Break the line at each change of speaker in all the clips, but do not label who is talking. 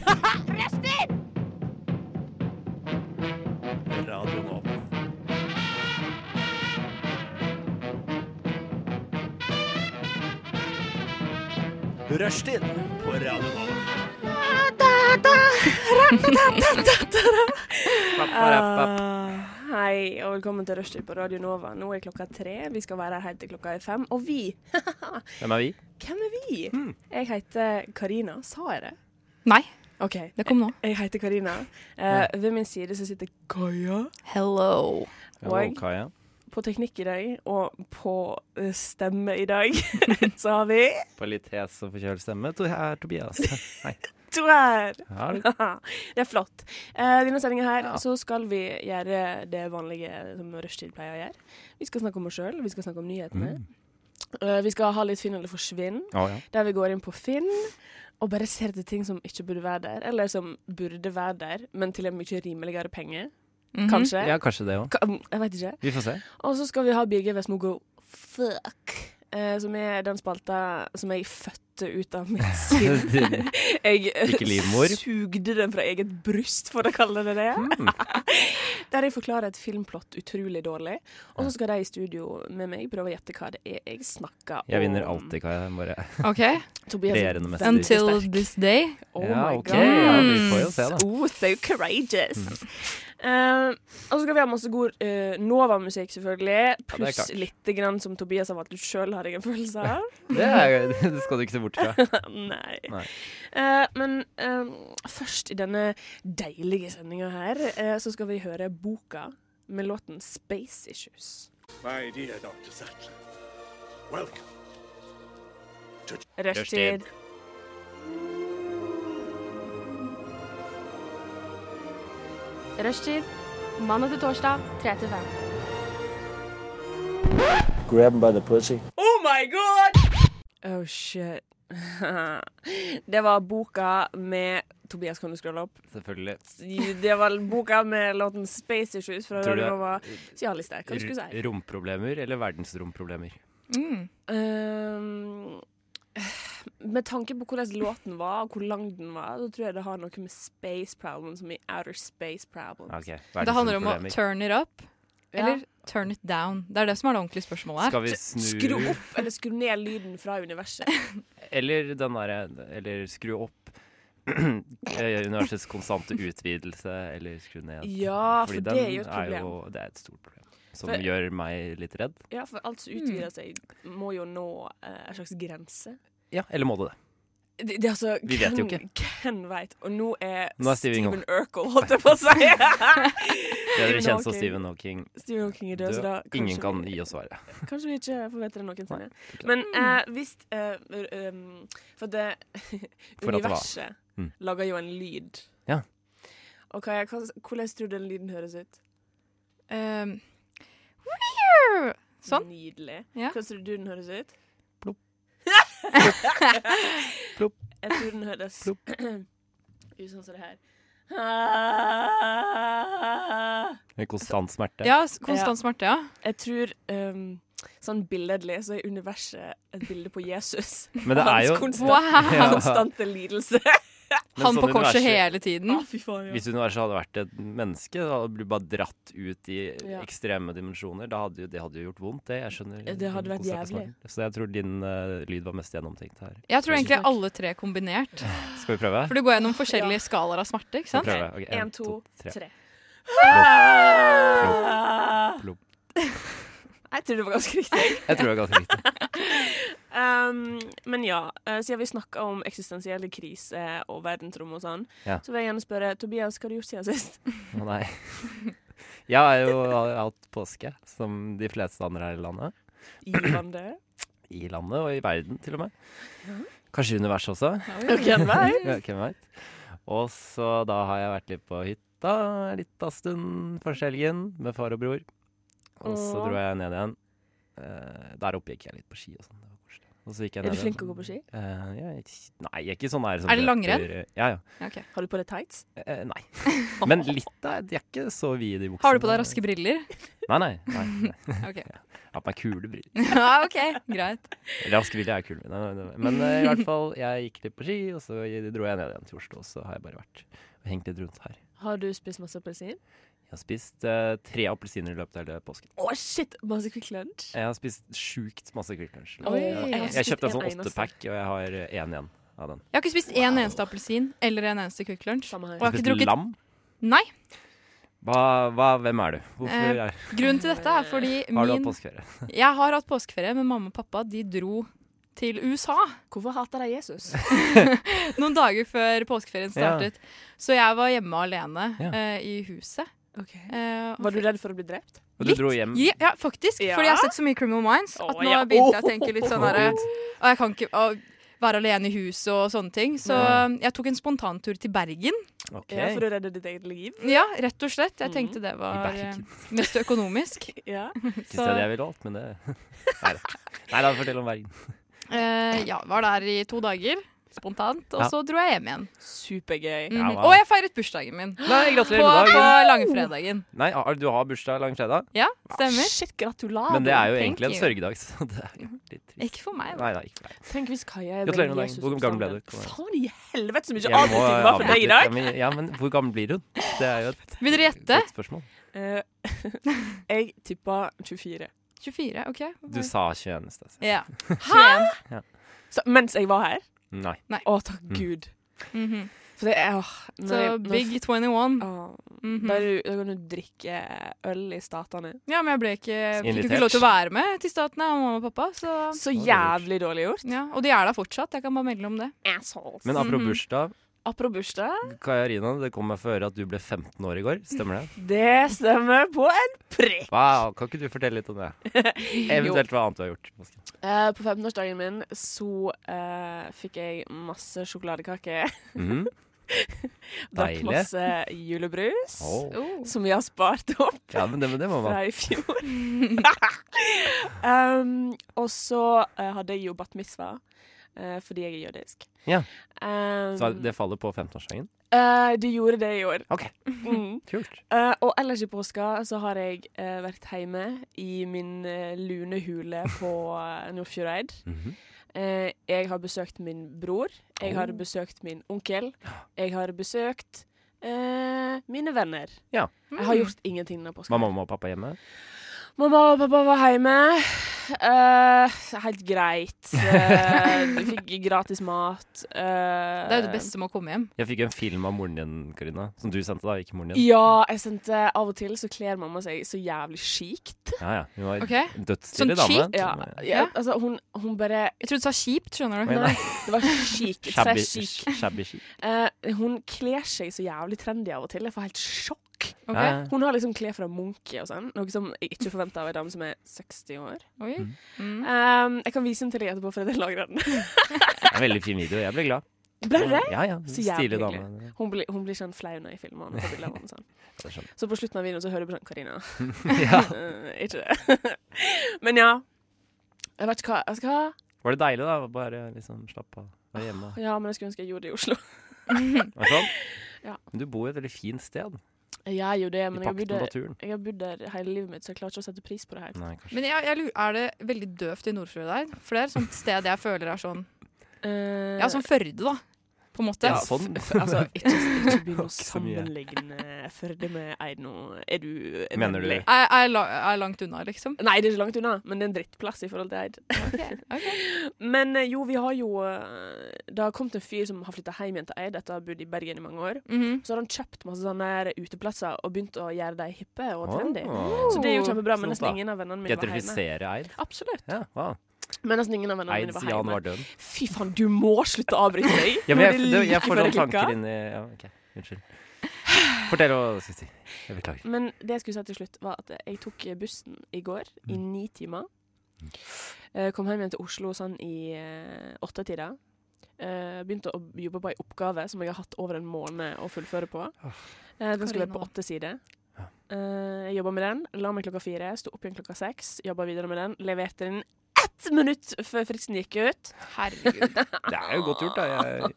Rushtid!
Radio Nova. Rushtid på Radio Nova.
Ah, Hei, og velkommen til Rushtid på Radio Nova. Nå er klokka tre. Vi skal være her helt til klokka er fem. Og vi
Hvem er vi?
Hvem er vi? Jeg heter Karina. Sa jeg det?
Nei,
OK.
det kom nå.
Jeg heter Karina. Eh, ved min side så sitter Kaja.
Hello.
Og-
Kaja.
På teknikk i dag, og på eh, stemme i dag, så har vi
På litt hes og forkjølt stemme. To her, Tobias. Hei.
to her.
Her.
det er flott. Eh, I denne sendinga her
Ja.
så skal vi gjøre det vanlige som rushtid pleier å gjøre. Vi skal snakke om oss sjøl, vi skal snakke om nyhetene.
Mm.
Eh, vi skal ha litt Finn eller forsvinn.
Å, ja.
Der vi går inn på Finn og bare ser etter ting som ikke burde være der, eller som burde være der, men til en mye rimeligere penge. Kanskje.
ja, kanskje det òg.
Ka- mm, Jeg vet ikke.
Vi får se.
Og så skal vi ha Birger Vestmo go fuck, eh, som er den spalta som jeg fødte ut av mitt sinn. Jeg eh,
Ikke livmor.
sugde den fra eget bryst, for å kalle det det.
Hmm.
Der jeg forklarer et filmplott utrolig dårlig. Og så skal de i studio med meg prøve å gjette hva det er jeg snakker om.
Jeg vinner alltid, Kaja. Jeg Bare
OK.
Tobias er
regjerende mester.
Until
veldig sterk.
this day.
Oh
ja,
my
ok.
god.
Ja, vi får jo se, da. Hmm.
Oh, so courageous. Eh, og så skal vi ha masse god eh, Nova-musikk, selvfølgelig.
er
Pluss
klart.
lite grann som Tobias har valgt ut sjøl, har jeg en følelse av.
Det, er, det skal du ikke se bort fra.
Nei.
Nei.
Eh, men eh, først i denne deilige sendinga her, eh, så skal vi høre boka med låten 'Space Issues'.
My dear Dr. Sattler, welcome.
Rushtid.
Rushtid. Mandag til torsdag, 3 til 5.
grab him by the pussy.
Oh my god! Oh shit. Det var boka med Tobias, kan du skrolle opp?
Selvfølgelig.
Det var boka med låten 'Space Issues' fra
Tror du
Radio
det-
Nova. Sialiste, hva du skulle si?
R- Romproblemer eller verdensromproblemer?
Mm.
Ehm, med tanke på hvordan låten var, og hvor lang den var, så tror jeg det har noe med space problems som i outer space problems.
Ok,
Det handler om å
verdensromproblemer.
turn it up
Eller
eller turn it down. Det er det som er det ordentlige spørsmålet her.
Skal vi snu
skru opp eller skru ned lyden fra universet.
Eller den derre Eller skru opp eh, universets konstante utvidelse, eller skru ned.
Ja, for det er jo et
den
problem.
det er et stort problem. Som
For-
gjør meg litt redd.
Ja, for alt som utvider seg, må jo nå eh, en slags grense.
Ja, eller må det det?
Det, det er altså,
Vi vet jo
hvem- Hvem veit? Og nå er,
Nå er Steven
Steven, Urkel, holdt jeg på å si.
Bedre
Stephen
kjent som
Hawking.
Stephen Hawking.
Stephen Hawking er død, så da
Død. Ingen
kanskje
kan
vi-
gi oss svaret.
Kanskje vi ikke får vite det noensinne.
klart.
Men eh, hvis eh, r- um, For det
For at det var.
universet
Mm.
lager jo en lyd.
Ja.
Og hva, hva, hvordan tror du den lyden høres ut?
Um, weird. Sånn.
Nydelig.
Ja.
Hva tror du den høres ut?
Plopp. Plopp.
Plopp. Jeg tror den høres
Plopp.
ut sånn som det her.
Med konstant smerte.
Ja, s- konstant smerte, ja.
Ah. Jeg tror um, Sånn billedlig så er universet et bilde på Jesus.
Men det er jo
Hans konstant,
Wow.
konstante lidelse.
men
Han
sånn
på korset
universet-
hele
Mm.
tiden.
fy faen,
Hvis universet hadde vært et menneske, da hadde du bare dratt ut i
Ja.
ekstreme dimensjoner. Da hadde jo, det hadde jo gjort vondt, det. Jeg skjønner.
Det hadde vært
konstant
jævlig.
smerte. Så jeg tror din eh, lyd var mest gjennomtenkt her.
Jeg tror egentlig
Takk.
alle tre kombinert.
Skal vi prøve?
For du går gjennom forskjellige skalaer av smerte, ikke sant?
Skal vi prøve? Ok,
En, to, tre. Ah!
Plopp.
Jeg tror det var ganske riktig.
Jeg tror det er ganske riktig.
Um, men ja, eh, siden vi snakka om eksistensielle kriser og verdensrom og sånn,
Ja.
så vil jeg gjerne spørre Tobias, hva har du gjort siden sist?
Å nei. Jeg har jo hatt påske, som de fleste andre her i landet.
Givende?
I landet og i verden, til og med. Kanskje i universet også.
Hvem vet?
Ja, hvem vet. Og så da har jeg vært litt på hytta litt av stund første helgen med far og bror. Og så
Åh.
dro jeg ned igjen. Eh, der oppe gikk jeg litt på ski og sånn. Det var koselig. Og så gikk jeg
Er
ned
du
den.
flink til å gå på ski?
Eh, jeg, nei, jeg er ikke sånn her som
Er det
løper-
langrenn?
Ja, ja.
Ja, ok.
Har du på deg tights?
Eh, nei. Men litt, da. Jeg er ikke så vid i buksene.
Har du på deg raske briller?
Nei, nei. nei, nei.
Ok.
Jeg har på meg kule briller.
Ja, ok, greit.
Raske briller er kule. Nei, nei, nei. Men eh, i hvert fall, jeg gikk litt på ski, og så dro jeg ned igjen til Oslo. Og så har jeg bare vært og hengt litt rundt her.
Har du spist masse appelsin?
Jeg har spist eh, tre appelsiner i løpet av hele påsken.
Å, shit! Masse Quick Lunch.
Jeg har spist sjukt masse Quick Lunch.
Oi.
har
Jeg
spist
kjøpte en
en
sånn
eneste.
åttepack, og jeg har eh, én igjen av den.
Jeg har ikke spist én eneste appelsin eller en eneste Quick Lunch.
Samme
Og
her.
jeg har ikke
Spist
drukket
lam?
Nei.
Hva, hva, hvem er du? Hvorfor
Eh,
er,
Grunnen til dette er fordi
har du hatt
min
påskeferie?
Jeg har hatt påskeferie, men mamma og pappa de dro til USA
Hvorfor hater de Jesus?
noen dager før påskeferien
Ja.
startet. Så jeg var hjemme alene
Ja.
eh, i huset. Eh,
Var du redd for å bli drept?
Og du dro hjem?
Ja, ja faktisk.
Ja?
Fordi jeg har sett så mye Criminal Minds
Å,
at nå
ja.
begynte jeg å tenke litt sånn
Å,
herre
Gud.
Og jeg kan ikke å være alene i huset og sånne ting. Så eh, jeg tok en spontantur til Bergen.
Ok.
Ja, for å redde ditt eget liv?
Ja, rett og slett.
Mhm.
Jeg tenkte det var
I
eh,
Bergen.
mest økonomisk.
Ja.
Ikke stedet jeg ville valgt, men det Nei da. Nei da, fortell om Bergen.
Eh, ja, var der i to dager spontant, og
Ja.
så dro jeg hjem igjen.
Supergøy.
Mhm.
Ja, wow.
Og jeg feiret bursdagen min.
Nei,
På,
gratulerer med
på
dagen!
langfredagen.
Nei, har- du har bursdag langfredag,
Ja, stemmer.
Shit, gratulerer.
men det er jo
Ah, thank
egentlig en
you. Mhm.
sørgedag, så det er jo litt trist.
Ikke for meg. da.
Nei, nei, ikke for deg.
Tenk hvis Kaja er
Gratulerer
veldig
med dagen.
Jesus
Hvor
på
gammel ble
sanden.
du?
Faen i helvete, så mye
Jeg må
avbryting var for
avbryte
deg i
litt,
dag!
ja, men- Ja, men hvor gammel blir hun? Det er jo et
Vil dere gjette?
godt spørsmål.
Eh, jeg tippa 24.
24, OK.
Du sa 21 i sted. Cecilie.
Ja.
Så, mens jeg var her.
Nei.
Å, takk
Mm.
gud.
Mhm.
For det er åh, når
Så
jeg- når-
Big 21.
Åh,
Mhm.
Da, er du, da kan du drikke øl i statene.
Ja, men jeg ble ikke, fikk jo
Invitert.
ikke lov til å være med til statene av mamma og pappa. Så
Så
det er
jævlig dårlig gjort.
ja, Og de er der fortsatt. Jeg kan bare melde om det.
Assholes.
Men apropos bursdag,
Apropos bursdag.
Kaja Rina, det kom meg for øre at du ble 15 år i går. Stemmer det?
Det stemmer på en prikk.
Wow, Kan ikke du fortelle litt om det? Eventuelt hva annet du har gjort. i påsken.
Eh, på 15-årsdagen min så eh, fikk jeg masse sjokoladekake.
Mhm.
Drakk
Deilig.
masse julebrus.
Åh.
Oh.
Som vi har spart opp.
Mhm. Ja, men det, men det må man.
fra i fjor. um, og så eh, hadde jeg jo bat mitzvah, eh, fordi jeg er jødisk.
Ja.
Um,
Så det faller på 15-årsdagen?
eh, de gjorde det i år.
OK,
Mm.
kult.
Eh, og ellers i påska så har jeg eh, vært hjemme i min eh, lune hule på uh, Nordfjordeid.
Mhm.
Eh, jeg har besøkt min bror, jeg har
Oh.
besøkt min onkel, jeg har besøkt eh, mine venner.
Ja.
Jeg
Mm.
har gjort ingenting denne påska.
Var mamma og pappa hjemme?
Mamma og pappa var hjemme. Eh, helt greit. Eh, vi fikk gratis mat. Eh,
Det er jo det beste med å komme hjem.
Jeg fikk en film av moren din, Karina. Som du sendte, da. Ikke moren din.
Ja, jeg sendte Av og til så kler mamma seg så jævlig skikt.
Ja, ja. Hun var
Ok.
en dødsstilig
Sånn
dame.
chic?
Ja, ja, altså, hun, hun bare
Jeg trodde du sa kjipt, skjønner du.
Oi,
Nei,
nei.
det var chic. Tre
Shabby,
chic.
shabby chic.
Eh, hun kler seg så jævlig trendy av og til. Jeg får helt sjokk.
Ok.
Ja, ja.
Hun har liksom klær fra Munch og sånn, noe som jeg ikke forventer av ei dame som er 60 år.
Oi. Mm.
Eh, jeg kan vise den til deg etterpå, for jeg lagrer den.
Det er En veldig fin video. Jeg ble glad.
Ble det?
Ja, ja.
Så jævlig
Stilig dame.
hyggelig. Hun blir, hun blir sånn flau når jeg filmer henne. på bilder av henne og Sånn.
Ja, det skjønner jeg.
Så på slutten av videoen så hører du på sånn Karina.
Ja.
Eh, ikke det. Men ja. Jeg vet ikke hva jeg skal ha.
Var det deilig, da? Bare liksom slappe av. Være hjemme.
Ja, men jeg skulle ønske jeg gjorde det i Oslo.
Er det sånn?
Ja.
Men du bor jo et veldig fint sted.
Jeg er jo det,
I
men jeg har
pakt
bodd
med
der-
naturen.
jeg har bodd der hele livet mitt, så jeg klarer ikke å sette pris på det her.
Nei, kanskje.
Men jeg, jeg lurer, er det veldig døvt i Nordfjordeid? For det er et sånt sted jeg føler er sånn
Eh,
Ja, som Førde, da. På en måte.
Ja, sånn.
altså, ikke, ikke begynn å
så mye.
sammenligne Førde med Eidno. Er du er
Mener du-
vennlig?
Jeg, jeg, er la- jeg er langt unna, liksom.
Nei, det er ikke langt unna, men det er en drittplass i forhold til Eid.
Ok.
Men eh, jo, vi har jo eh, Det har kommet en fyr som har flytta hjem igjen til Eid etter å ha bodd i Bergen i mange år.
Mhm.
Så har han kjøpt masse sånne her uteplasser og begynt å gjøre dem hippe og
Ah.
trendy.
Åh.
Så det er jo kjempebra, men
Sånn
nesten
da.
ingen av vennene mine var hjemme.
Gentrifisere Eid?
Absolutt.
Ja, wow.
Men nesten ingen av vennene mine
Eids
var
Jan
hjemme.
var død.
Fy faen, du må slutte å avbryte deg!
Ja, men
Nå er
jeg,
det
det,
like
jeg får
før
noen
det klikker.
tanker inn i ja, OK, unnskyld. Fortell hva du skulle si. Jeg beklager.
Men det jeg skulle si til slutt, var at jeg tok bussen i går i
Mm.
ni timer. Eh, Kom hjem igjen til Oslo sånn i eh, åttetida. Eh, Begynte å jobbe på ei oppgave som jeg har hatt over en måned å fullføre på.
Ah,
Eh, Den skulle være på
Karina.
åtte sider.
Ja.
Eh, Jeg jobba med den, la meg klokka fire, sto opp igjen klokka seks, jobba videre med den, leverte den ett minutt før fristen gikk ut.
Herregud.
Det er jo godt gjort, da. Jeg er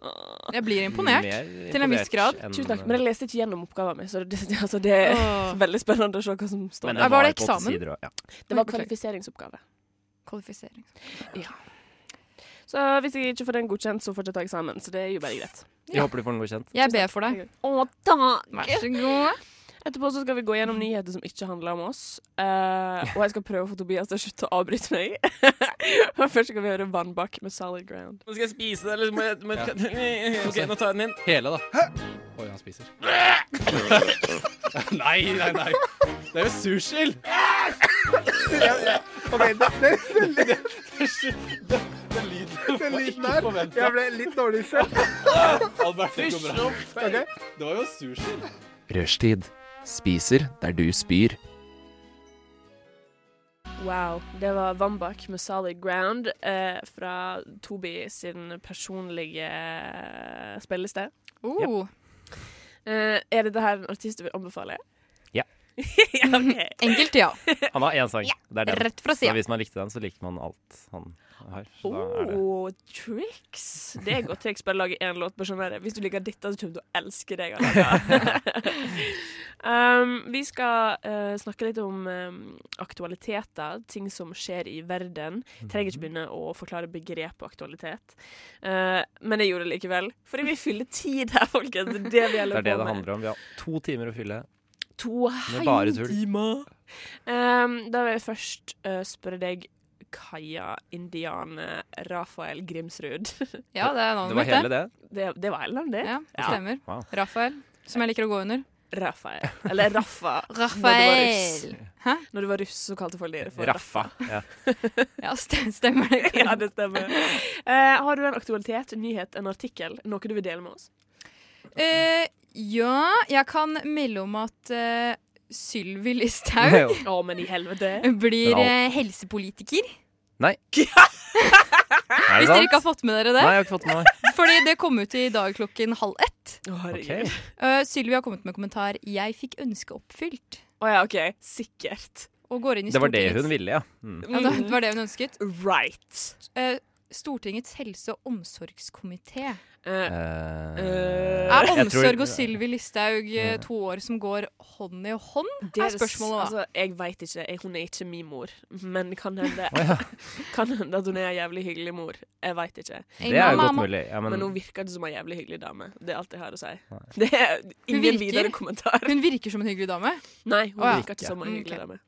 Jeg blir imponert.
mer
Til en viss
imponert
grad.
enn-
Tusen takk. Men jeg leste ikke gjennom oppgaven min, så det, altså, det er
Åh,
veldig spennende å se hva som står
Men
der.
var det
på åtte
eksamen?
sider også, Ja.
Det var kvalifiseringsoppgave.
Kvalifisering.
Så hvis jeg ikke får den godkjent, så får jeg ta eksamen. Så det er jo bare greit.
Jeg håper du får den godkjent.
Jeg ber for deg.
Å, takk!
Vær så god.
Etterpå så skal vi gå gjennom nyheter som ikke handler om oss. Eh, og jeg skal prøve å få Tobias til å slutte å avbryte meg. og først skal vi høre Vannbakk med Solid Ground.
Skal jeg spise det, eller må jeg
Ok, nå
tar jeg den inn.
Hele, da. Oi, han spiser. nei, nei, nei. Det er jo sursild!
Ok, det, det,
Den lyden
den lyden der Jeg ble litt dårlig selv.
Albert, det går bra.
Ok?
Det var jo sursild.
Rushtid. Spiser der du spyr.
Wow. Det var Vannbakk med Solid Ground eh, fra Tobi sin personlige eh, spillested.
Oh.
Eh, er dette her en artist du vil anbefale?
Ja.
ja, ok.
Enkelt, ja.
Han har én sang. Det er den.
Rett fra
Så
sida.
hvis man likte den, så likte man alt han har. Så da er det
Oh, tricks! Det er godt triks. Bare lage én låt. Bare sånn der, Hvis du liker dette, så kommer du til å elske deg. Alana. um, vi skal eh, snakke litt om em, aktualiteter, ting som skjer i verden. Trenger
Mhm.
ikke begynne å forklare begrepet aktualitet, Eh, men jeg gjorde det likevel. Fordi vi fyller tid her, folkens. Det er det vi
Det
holder
er det
på
det
med.
handler om. Vi har to timer å fylle.
To
Med bare tull.
heimtimer. Um, da vil jeg først eh, spørre deg, Kaja Indiane Rafael Grimsrud.
Ja, det er
Det var
navnet mitt,
hele
det.
det.
Det, det var navnet ditt?
Ja, det stemmer.
Wow.
Rafael, som jeg liker å gå under.
Rafael. Eller Raffa. Når du var russ,
Rafael!
Når du var russ så kalte folk dere for Raff.
Raffa. Ja.
Ja, st- stemmer det.
Ja, det stemmer. Eh, har du en aktualitet, en nyhet, en artikkel, noe du vil dele med oss?
Eh, ja, jeg kan melde om at uh, Sylvi Listhaug
Jo.
Å, men i helvete.
blir
Bra.
eh, helsepolitiker.
Er det
Hvis dere
sant?
ikke har fått med
Nei,
dere det.
jeg har ikke fått med meg.
Fordi det kom ut i dag klokken halv ett.
Å,
Ok.
herregud.
Uh, Sylvi har kommet med kommentar 'Jeg fikk ønsket oppfylt'.
Å ja, OK. Sikkert.
Og går inn i
Det var det hun
Stortingets-
ville, ja. Mm.
Ja, det det var det hun ønsket.
Right.
Eh, Stortingets helse- og omsorgskomité.
Eh,
Eh,
Er
jeg tror- Mm.
omsorg og Sylvi Listhaug eh, to år som går hånd i hånd?
Det
er spørsmålet, da.
Altså, jeg veit ikke. Jeg, hun er ikke min mor. Men kan hende, kan hende at hun er ei jævlig hyggelig mor. Jeg veit ikke.
Det er jo godt
Mamma-
mulig. Ja,
Men,
men
hun virker ikke som ei jævlig hyggelig dame. Det er alt jeg har å si. Det er
virker.
ingen videre kommentar.
Hun virker som en hyggelig dame.
Nei, hun
Å, ja.
virker ikke som ei
Mm,
hyggelig
ok.
dame.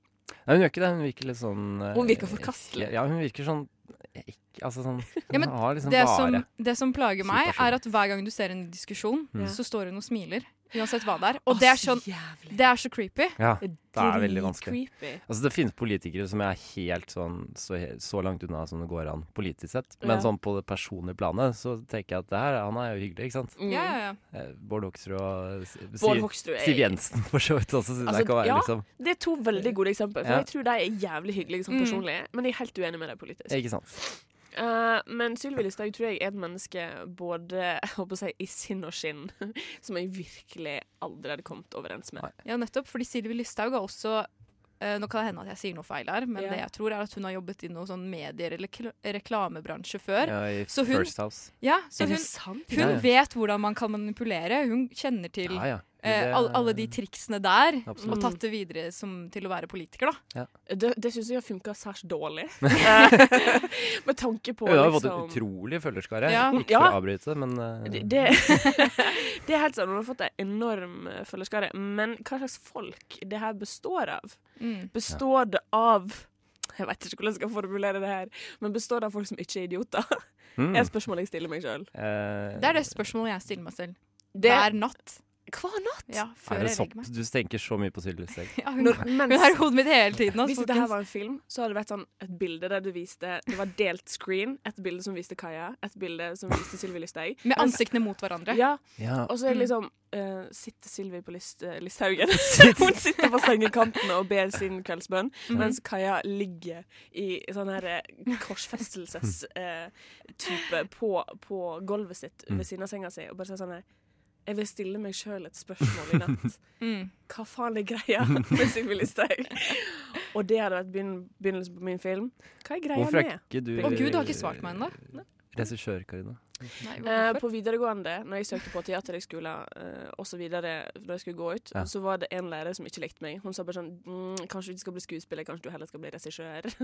Nei, hun gjør ikke det. Hun virker litt sånn eh,
Hun virker forkastelig.
Ja, hun virker sånn ikke, Altså sånn Hun
Ja, men
har liksom
Det
bare
som, det som plager meg,
Superskyld.
er at hver gang du ser en diskusjon,
Mm.
så står hun og smiler. Uansett hva det er. Og det er, sånn, det er så creepy.
Ja, det er veldig vanskelig.
Creepy.
Altså Det finnes politikere som jeg er helt sånn så, he- så langt unna som det går an politisk sett. Men
Ja.
sånn på det personlige planet så tenker jeg at det her, han er jo hyggelig, ikke sant?
Mm.
Ja, ja, ja.
Eh, Bård Hoksrud og S- Siv,
Bård
eh,
Hoksrud
Siv
er,
Jensen for så vidt også, synes
Altså,
jeg kan være
ja.
liksom
det er to veldig gode eksempler. For
Ja.
jeg tror de er jævlig hyggelige sånn
Mm.
personlig, men jeg er helt uenig med dem politisk.
Ikke sant?
Eh, men Sylvi Listhaug tror jeg er et menneske både jeg håper å si, i sinn og skinn som jeg virkelig aldri hadde kommet overens med.
Nei.
ja, nettopp. Fordi Sylvi Listhaug har også eh, Nå kan det hende at jeg sier noe feil her, men
Ja.
det jeg tror, er at hun har jobbet i noen sånn medier- eller kl- reklamebransje før.
Ja, I
Så hun-
First House.
Ja, så
er
hun,
det sant?
hun
Ja, ja.
vet hvordan man kan manipulere. Hun kjenner til
Ja, ja.
eh,
Det-
all, alle de triksene der,
Absolutt.
og tatt det videre som, til å være politiker, da.
Det, det syns jeg har funka særs dårlig. Eh, med tanke på
Hun har jo fått en
liksom
utrolig følgerskare.
Ja.
Ikke
Ja.
for å avbryte, men eh,
det, det, det er helt sant. Hun har fått en enorm eh, følgerskare. Men hva slags folk det her består av?
Mm.
Består det av Jeg vet ikke hvordan jeg skal formulere det her, men består det av folk som ikke er idioter?
mm,
er et spørsmål jeg stiller meg sjøl.
eh,
Det er det spørsmålet jeg stiller meg selv.
Det er
Hver natt.
hver natt!
Ja,
Er
før
det
jeg
sopp?
legger meg.
Du tenker så mye på Sylvi Listhaug.
Ja, hun,
Når, mens,
Hun er i hodet mitt hele tiden.
Hvis
Altså,
dette her
folkens.
var en film, så hadde det vært sånn et bilde der du viste Det var delt screen. Et bilde som viste Kaja, et bilde som viste Sylvi Listhaug.
Med ansiktene mot hverandre.
Ja,
Ja.
og så er det liksom eh, sitter Sylvi på list, eh, Listhaugen. Hun sitter på sengekanten og ber sin kveldsbønn, mens Kaja ligger i sånn her eh, korsfestelses-type på, på gulvet sitt ved siden av senga si og bare sier sånn her Jeg vil stille meg sjøl et spørsmål i natt
Mm.
hva faen er greia med Sylvi Listhaug? Og det hadde vært begynn begynnelsen på min film. Hva er greia
Hvorfor er
med?
ikke du
Å gud, du har ikke svart meg ennå.
Regissør, Karina.
Nei,
Eh,
hvorfor?
på videregående, når jeg søkte på teaterhøgskolen eh, osv., når jeg skulle gå ut,
Ja.
så var det en lærer som ikke likte meg. Hun sa bare sånn mm, Kanskje du ikke skal bli skuespiller, kanskje du heller skal bli regissør.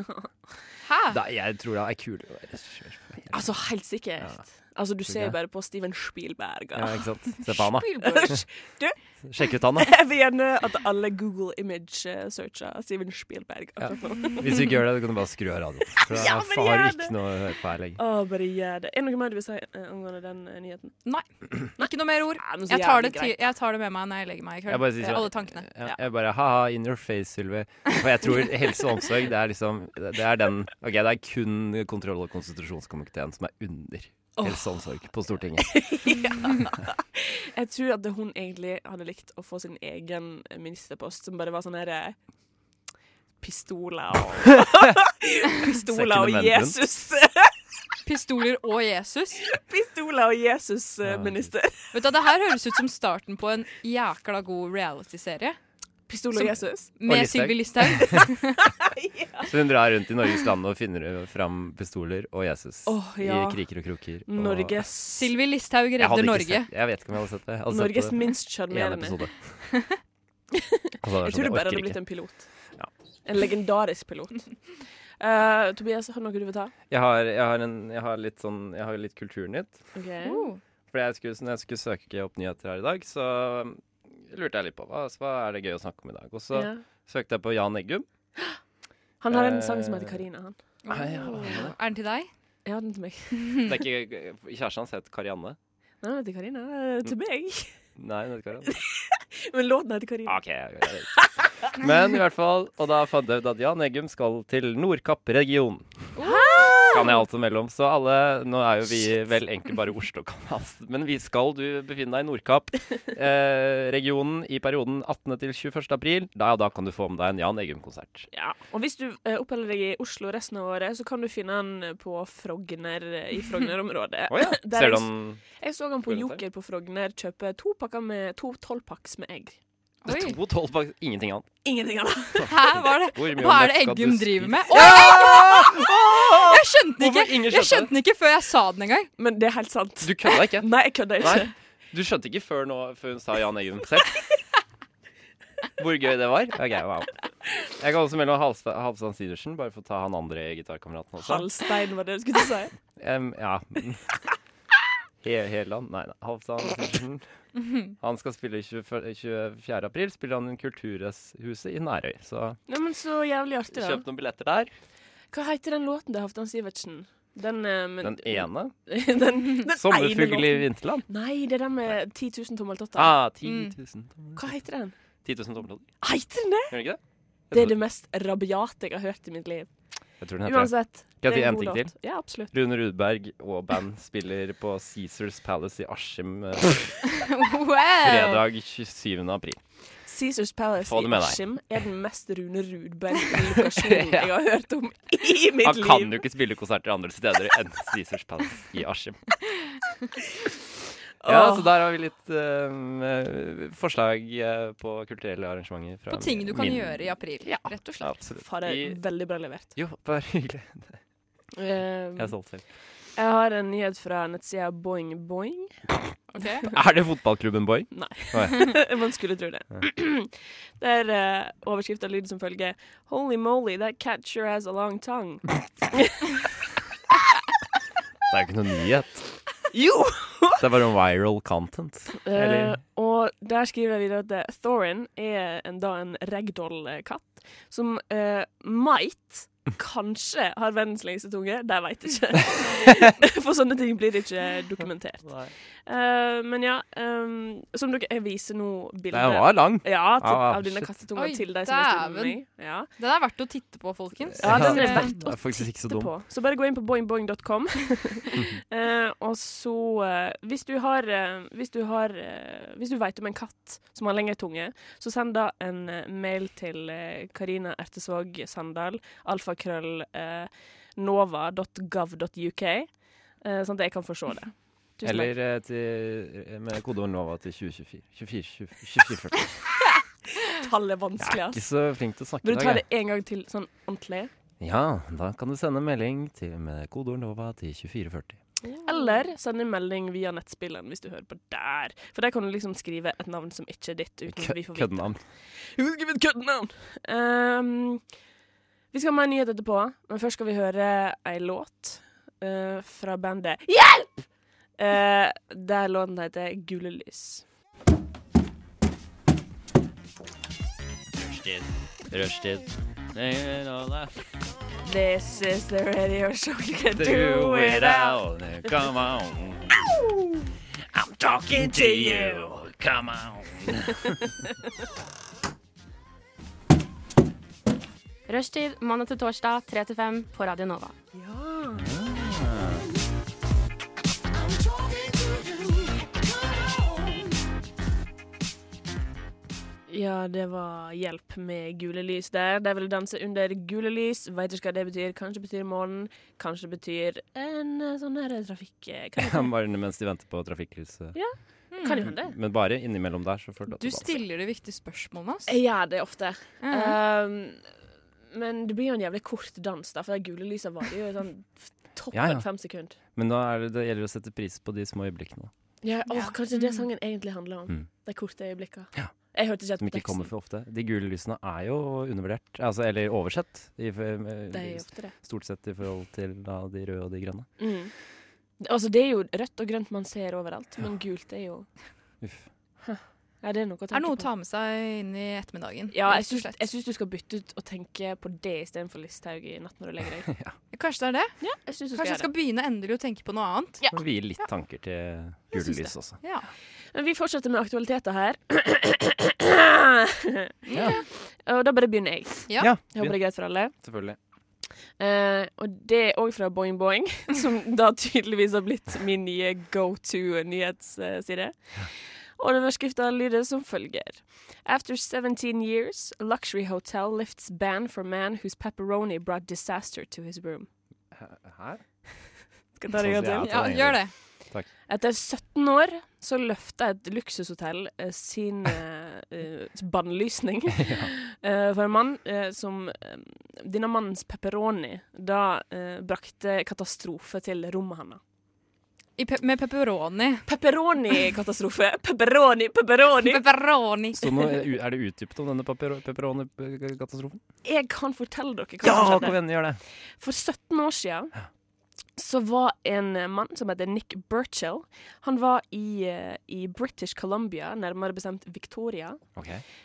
Hæ?
Nei, jeg tror det er kulere å være regissør. for helvete.
altså, helt sikkert. Altså, du
Tror
ser
jeg.
jo bare på Steven Spielberg.
Ja,
og-
ikke sant? Se på han, da.
Du,
Sjekk ut han, da.
jeg vil gjerne at alle Google image-searcher Steven Spielberg akkurat nå.
Hvis du ikke gjør det, du kan du bare skru av radioen. For
Ja,
jeg
men
har
gjør
ikke
det.
noe å høre på her lenger.
Å, bare gjør det. Er det noe mer du vil si eh, angående den eh, nyheten?
Ikke noe mer ord.
Nei, men så
Jeg tar, det
jævlig
til,
greit.
jeg tar det med meg når jeg legger meg i kveld.
Jeg bare sier sånn-
Alle tankene.
Ja,
Ja.
jeg bare ha-ha, in your face, Sylvi. For jeg tror helse og omsorg, det er liksom Det er den Ok, det er kun kontroll- og konstitusjonskomiteen som er under helse og omsorg på Stortinget.
Jeg tror at hun egentlig hadde likt å få sin egen ministerpost, som bare var sånn herre Pistoler og Pistoler og
Second Amendment.
Jesus.
Pistoler og Jesus.
Pistoler og eh, Jesus-minister.
Vet du, Det her høres ut som starten på en jækla god reality-serie.
Pistoler og Jesus.
Med
Listhaug.
Sylvi Listhaug.
Så hun drar rundt i Norges land og finner fram pistoler og Jesus
Åh, ja.
i kriker og kroker. Og
Norges
Sylvi Listhaug
Jeg hadde
redder
ikke
Norge.
Sett, jeg vet ikke om jeg hadde sett det. Jeg hadde
Norges
sett
minst
det i en
sjarmerende.
episode. Altså,
Jeg tror det bare hadde blitt en pilot. En legendarisk pilot. Eh, Tobias, har du noe du vil ta?
Jeg har, jeg har, en, jeg har litt sånn Jeg har litt Kulturnytt.
Uh,
Oh.
For jeg skulle, når jeg skulle søke opp nyheter her i dag, så um, lurte jeg litt på hva, altså, hva er det gøy å snakke om i dag. Og så
Ja.
søkte jeg på Jan Eggum.
Han har en
Eh,
sang som heter Karina. Han.
Nei, ja, hva
Er
er det?
den til deg?
Jeg har den til meg.
Det er ikke, kjæresten hans het Karianne.
Nei, den heter Karina. Eh, Til
Mm.
meg.
Nei, hun het Karianne.
Men låten heter Karina.
OK. jeg- jeg vet ikke. Men i hvert fall Og da fant jeg ut at Jan Eggum skal til Nordkapp region. Kan jeg alt imellom. Så alle Nå er jo vi vel egentlig bare Oslo, kan jeg- men vi skal du befinne deg i Nordkapp-regionen eh, regionen i perioden 18. til 21. april. Da, ja, da kan du få med deg en Jan Eggum-konsert.
Ja. Og hvis du eh, oppholder deg i Oslo resten av året, så kan du finne han på Frogner eh, i Frogner-området.
Å ja.
Der
Ser
jeg
du
s-
han
Jeg så han på
Spør du
Joker på Frogner kjøpe to pakker med to tolvpakks med egg.
Det
Oi.
er to tolv bak Ingenting annet.
Ingenting annet.
Hæ, hva er det?
Hvor mye
Hva er
møkk
det
skal du
Eggum
spise?
driver med? Å, jeg skjønte
Hvorfor ingen
den ikke! Jeg
skjønte
skjønte den ikke før jeg sa den engang.
Men det er helt sant.
Du kødda ikke?
Nei, jeg kødder ikke.
Nei. Du skjønte ikke før, nå, før hun sa Jan Eggum selv? Hvor gøy det var? Ok, wow. Jeg kan også melde om Halvsta- Halvdan Sivertsen, bare for å ta han andre gitarkameraten også.
Halstein var det jeg skulle si.
Em, ja. He Heland? Nei, nei. Halvdan Sivertsen. Han skal spille 24. 24. april. Spiller han i Kulturhuset i Nærøy. Så
Nei, men så jævlig artig, da.
kjøp noen billetter der.
Hva heter den låten til Halvdan Sivertsen? Den, eh, men-
Den ene.
den, den ene
Sommerfugl i
låten.
vinterland.
Nei, det er den med 10 000 tommeltotter.
Ah, 10
Mm.
000
Hva heter den?
10 000 tommeltotter.
Heter den det?
Gjør den ikke det?
Det er det mest rabiate jeg har hørt i mitt liv.
Jeg tror den heter det.
Uansett. det
Skal jeg
er
si en
god
ting
låt.
til?
Ja, absolutt.
Rune Rudberg og band spiller på Caesars Palace i Askim eh,
Wow.
fredag 27. april.
Caesars Palace
Få det
i
med deg.
Askim er den mest Rune Rudberg-lokasjonen jeg har hørt om i mitt
Han kan
liv.
jo ikke spille konserter andre steder enn Caesars Palace i Askim. Ja,
Åh.
altså, så der har vi litt eh, eh, forslag eh, på kulturelle arrangementer. Fra
På ting du kan
min-
gjøre i april, rett
Ja,
og slett.
absolutt.
Fader,
I-
veldig bra levert.
Jo, bare hyggelig.
Eh,
Mm.
Jeg er solgt selv.
jeg har en nyhet fra nettsida Boing Boing.
Ok.
Er det fotballklubben Boy?
Man skulle tro det. Der uh, overskrifta lyd som følger Holy moly, that cat sure has a long tongue.
Det er jo ikke noe nyhet.
Jo!
Det er bare en viral content.
Eh,
Eller
og der skriver jeg videre at eh, Thorin er en, da en ragdoll-katt som eh, might kanskje har verdens lengste tunge. Det veit jeg ikke. For sånne ting blir det ikke dokumentert.
Nei.
Eh, men ja, ehm, som dere Jeg viser nå
Den
bildet
var lang.
ja, til,
Ah,
av denne
shit.
kattetunga
Oi,
til deg som har stått med
dæven.
meg. Ja.
Den er verdt å titte på, folkens. Eh,
Ja, den
Ja.
er verdt
Den
å
er faktisk ikke så
titte
dum.
på. Så bare gå inn på boingboing.com. Eh, og så eh, Hvis du har, eh, hvis du har eh, Hvis du veit om en katt som har lengre tunge, så send da en eh, mail til eh, Karina Ertesvåg Sandal, alfakrøll eh, nova.gov.uk, eh, sånn at jeg kan få se det. Tusen takk.
Eller eh, til, med kodeord NOVA til 2024. 24, 24, 24,
Tall er vanskelig,
Jeg er ikke
ass.
så flink til å snakke
Vil
i
du
dag.
ta det
jeg.
en gang til, sånn ordentlig?
Ja, da kan du sende melding til, med kodeord NOVA til 2440.
Eller send en melding via nettspilleren hvis du hører på der. For der kan du liksom skrive et navn som ikke er ditt. uten at vi får vite.
Køddenavn.
Jo, skriv et køddenavn! Ehm, vi skal ha mer nyhet etterpå, men først skal vi høre ei låt eh, fra bandet Hjelp! Eh, der låten heter Gule lys.
Rushtid. Rushtid. They know that
This is the radio show you can
they
do
do it
without.
out. Come on. I'm talking to you. Come on.
Rushtid mandag til torsdag 3 til 5 på Radio Nova.
Ja, det var hjelp med gule lys der. De ville danse under gule lys. Veit ikke hva det betyr. Kanskje det betyr morgen. Kanskje det betyr en eh, sånn her trafikk... eh, Hva heter det?
Bare mens de venter på trafikklyset.
Kan jo hende.
Men bare innimellom der, så får du
Du stiller de viktige spørsmålene, ass.
Jeg gjør det ofte.
Ja.
Um, men det blir jo en jævlig kort dans, da, for de gule lysa varer jo sånn f- toppen
Ja, ja.
fem sekunder.
Men da er det, det gjelder det å sette pris på de små øyeblikkene.
Ja, å, Kanskje det sangen egentlig handler om.
Mm.
De korte øyeblikkene.
Ja.
Jeg hørte ikke
Som
helt
ikke
på teksten.
kommer for ofte. De gule lysene er jo undervurdert, altså, eller oversett, i, eh,
De er jo ofte det.
stort sett i forhold til da, de røde og de grønne.
Mm. Altså, det er jo rødt og grønt man ser overalt, men gult er jo
Uff.
Ja, det er noe å tenke
Er noe å
på.
ta med seg inn i ettermiddagen.
Ja, jeg
rett og
syns,
slett.
jeg syns du skal bytte ut og tenke på det istedenfor Listhaug i natt når du legger deg.
Kanskje det er det?
Ja, jeg synes du skal
Kanskje jeg
gjøre
skal begynne endelig å tenke på noe annet?
Og vi gir litt tanker til gule
syns
lys også.
Ja.
det. Men vi fortsetter med aktualiteter her. Og da bare begynner jeg.
Ja.
Jeg håper det er greit for alle.
selvfølgelig.
Eh, og det er òg fra Boing Boing, som da tydeligvis har blitt min nye go to-nyhetsside. Og overskrifta lyder som følger. After 17 years, a luxury hotel lifts ban for man whose pepperoni brought disaster to his room.
Her?
Skal jeg ta det en gang til?
ja, gjør det.
Etter 17 år så løfta et luksushotell eh, sin eh, eh, bannlysning eh, for en mann eh, som eh, Denne mannens pepperoni da eh, brakte katastrofe til rommet hans.
I pe med pepperoni.
Pepperoni-katastrofe! Pepperoni, pepperoni!
Pepperoni.
Så nå, er det utdypet om denne papero- pepperoni-katastrofen?
Jeg kan fortelle dere hva
Ja,
som
kom
skjedde.
igjen, gjør det!
For 17 år siden så var en eh, mann som heter Nick Burchell Han var i, eh, i British Columbia, nærmere bestemt Victoria.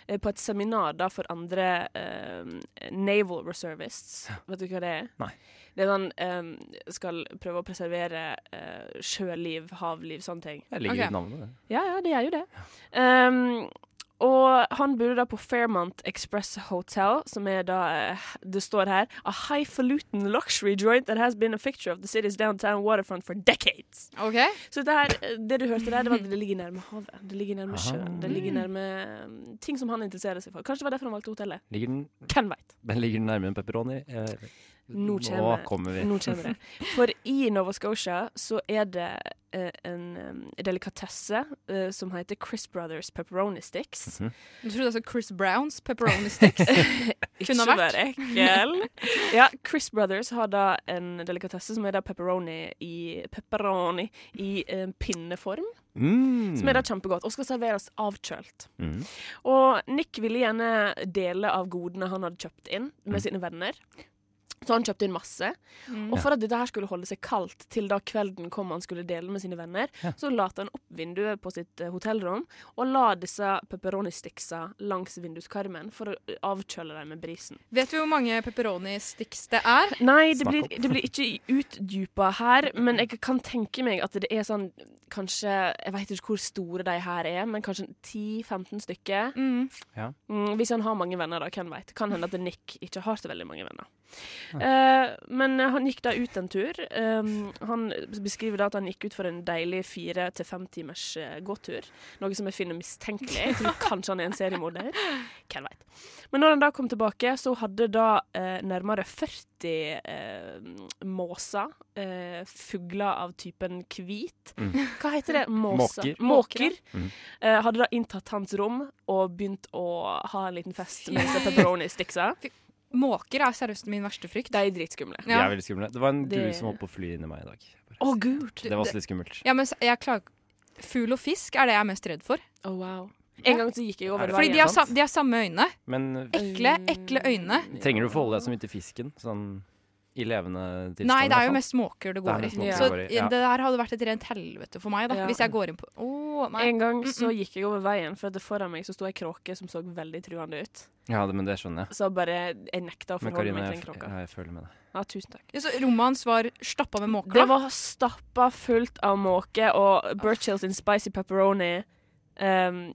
eh, på et seminar da for andre eh, naval reservists. Vet du hva det er?
Nei.
Det er sånn eh, skal prøve å preservere eh, sjøliv, havliv, sånne ting.
Jeg ligger
Ok.
i navnet. det.
Ja, ja, det gjør jo det. Ehm, og han bor da på Fairmont Express Hotel, som er da eh, Det står her A highfalutin luxury joint that has been a fixture of the city's downtown waterfront for decades.
OK.
Så det, her, eh, det du hørte der, det var at det ligger nærme havet. Det ligger nærme sjøen. Det
Mm.
ligger nærme eh, ting som han interesserer seg for. Kanskje det var derfor han valgte hotellet.
Ligger den,
Hvem veit?
men ligger den nærmere en pepperoni? Eh,
Nå
Nå
kommer-
kommer vi.
Nå kommer det. For i Nova Scotia så er det eh, en eh, delikatesse eh, som heter Chris Brothers Pepperoni Sticks.
Du trodde altså Chris Browns pepperoni sticks? Kunne
Ikke
vært.
være ekkel. Ja, Chris Brothers har da en delikatesse som er da pepperoni i, pepperoni i eh, pinneform.
Mm.
Som er da kjempegodt, og skal serveres avkjølt.
Mm.
Og Nick ville gjerne dele av godene han hadde kjøpt inn med sine venner. Så han kjøpte inn masse. Og for at dette her skulle holde seg kaldt til da kvelden kom han skulle dele med sine venner, så late han opp vinduet på sitt eh, hotellrom og la disse pepperoni-sticksa langs vinduskarmen for å eh, avkjøle dem med brisen.
Vet vi hvor mange pepperoni sticks det er?
Nei, det
Snakk
blir, det blir ikke utdypa her, men jeg kan tenke meg at det er sånn Kanskje Jeg vet ikke hvor store de her er, men kanskje 10-15 stykker.
Mm.
Mm, hvis han har mange venner, da. Hvem veit. Kan hende at Nick ikke har så veldig mange venner. Eh, men han gikk da ut en tur. Um, han beskriver da at han gikk ut for en deilig fire til fem timers eh, gåtur. Noe som jeg finner mistenkelig. Jeg tror kanskje han er en seriemorder. Hvem veit. Men når han da kom tilbake, så hadde da eh, nærmere 40 eh, måser, eh, fugler av typen hvit
Mm.
Hva heter det? Måser.
Måker.
Måker.
Mm.
Eh, hadde da inntatt hans rom og begynt å ha en liten fest med disse pepperoni-sticksa.
Måker er seriøst min verste frykt.
De er dritskumle.
De er
Ja,
veldig skumle. Det var en
Det-
due som holdt på å fly inni meg i dag.
Å, gud!
Det var også litt skummelt.
ja men s- jeg klager Fugl og fisk er det jeg er mest redd for.
Å, wow. En gang så gikk jeg over
Er det
Fordi de
er
har,
sant?
sa de har samme øyne.
Men
Ekle, ekle øyne.
trenger du å forholde deg så mye til fisken? Sånn i levende tilstand?
Nei, det er
i
jo
hvert
mest måker det
Det er
går i.
mest
måker
Så
det går i, ja.
det der hadde vært et rent helvete for meg, da.
Ja.
Hvis jeg går inn på Å, nei.
En gang så gikk jeg over veien, for at det foran meg så sto ei kråke som så veldig truende ut.
fall. Ja, det, men det skjønner jeg.
Så bare jeg nekta å
Men
forholde
Karina,
meg
jeg,
til den
f-
kråka.
jeg føler med deg.
Ja, tusen takk.
Ja, så rommet hans var stappa med måker?
Det
da?
var stappa fullt av måke, og Birchill sin spicy pepperoni ehm,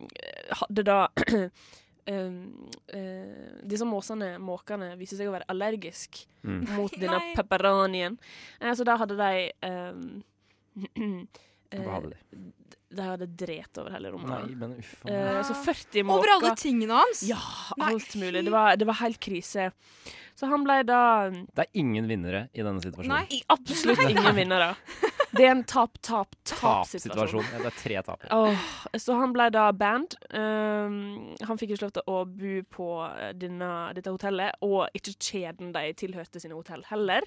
hadde da ehm, eh, Disse måsene, måkene, viser seg å være allergisk
Mm.
mot denne
Nei.
pepperonien. Eh, så da hadde de ehm, eh,
Hva hadde de?
De hadde dret over hele rommet.
Nei,
da.
men uff a meg.
Eh, så 40 måker.
Over alle tingene hans?
Ja,
Nei,
alt mulig.
fy.
Det var, det var helt krise. Så han ble da
Det er ingen vinnere i denne situasjonen.
Nei.
sånn i absolutt ingen vinnere. Det er en tap-tap-tap-situasjon.
Tapsituasjon. Ja, det er tre tapere.
Åh, så han ble da band. Um, han fikk ikke lov til å bo på eh, denne, dette hotellet, og ikke kjeden de tilhørte sine hotell heller,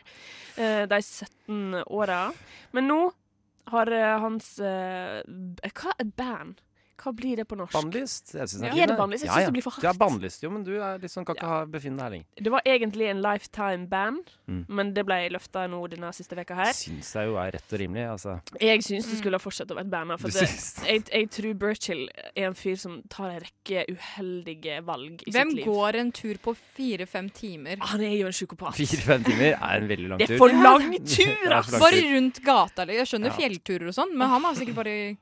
eh, de 17 åra. Men nå har eh, hans eh, b- Hva er band? Hva blir det på norsk?
Bannlyst? Jeg synes det
Ja. Er
fint,
det bannlyst? Jeg synes det blir for
Du er
hardt.
bannlyst, jo, men du er liksom, kan ikke ha, befinne deg her lenger.
Det var egentlig en lifetime band,
Mm.
men det ble løfta nå denne siste veka her.
Syns jeg jo er rett og rimelig, altså.
Jeg syns det skulle ha fortsatt å være et band. her, For
Du
det,
syns-
jeg, jeg tror Birchill er en fyr som tar en rekke uheldige valg i
Hvem
sitt liv.
går en tur på fire-fem timer?
Han er jo en psykopat.
Fire-fem timer er en veldig lang
Det
tur.
er for lang
Det er
tur,
for lang
ass!
tur.
Bare rundt gata. eller Jeg skjønner
Ja.
fjellturer og sånn, men han har sikkert bare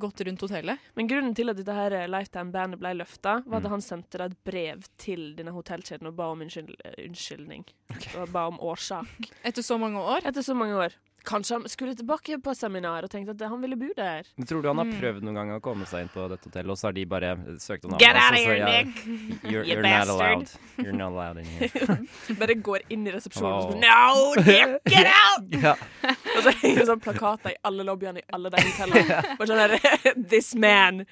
gått rundt hotellet.
Men grunnen til at dette her eh, Lifetime-bandet ble løfta, var
Mm.
at han sendte da et brev til denne hotellkjeden og ba om unnskyld, eh, unnskyldning. Og ba om årsak.
Etter så mange år.
Etter så mange år. Kanskje han skulle tilbake på et seminar og tenkte at han ville bo der.
Men Tror du han
Mm.
har prøvd noen gang å komme seg inn på dette hotellet, og så har de bare eh, søkt om
Get
avlass,
out of
og så
here,
jeg-
Nick!
You're,
you
you're not
bastard.
allowed. You're not allowed in here.
Bare går inn i resepsjonen og
Wow.
sånn No, Nick, get out!
ja.
Og så henger det sånn plakater i alle lobbyene i alle de hotellene. Bare sånn der This man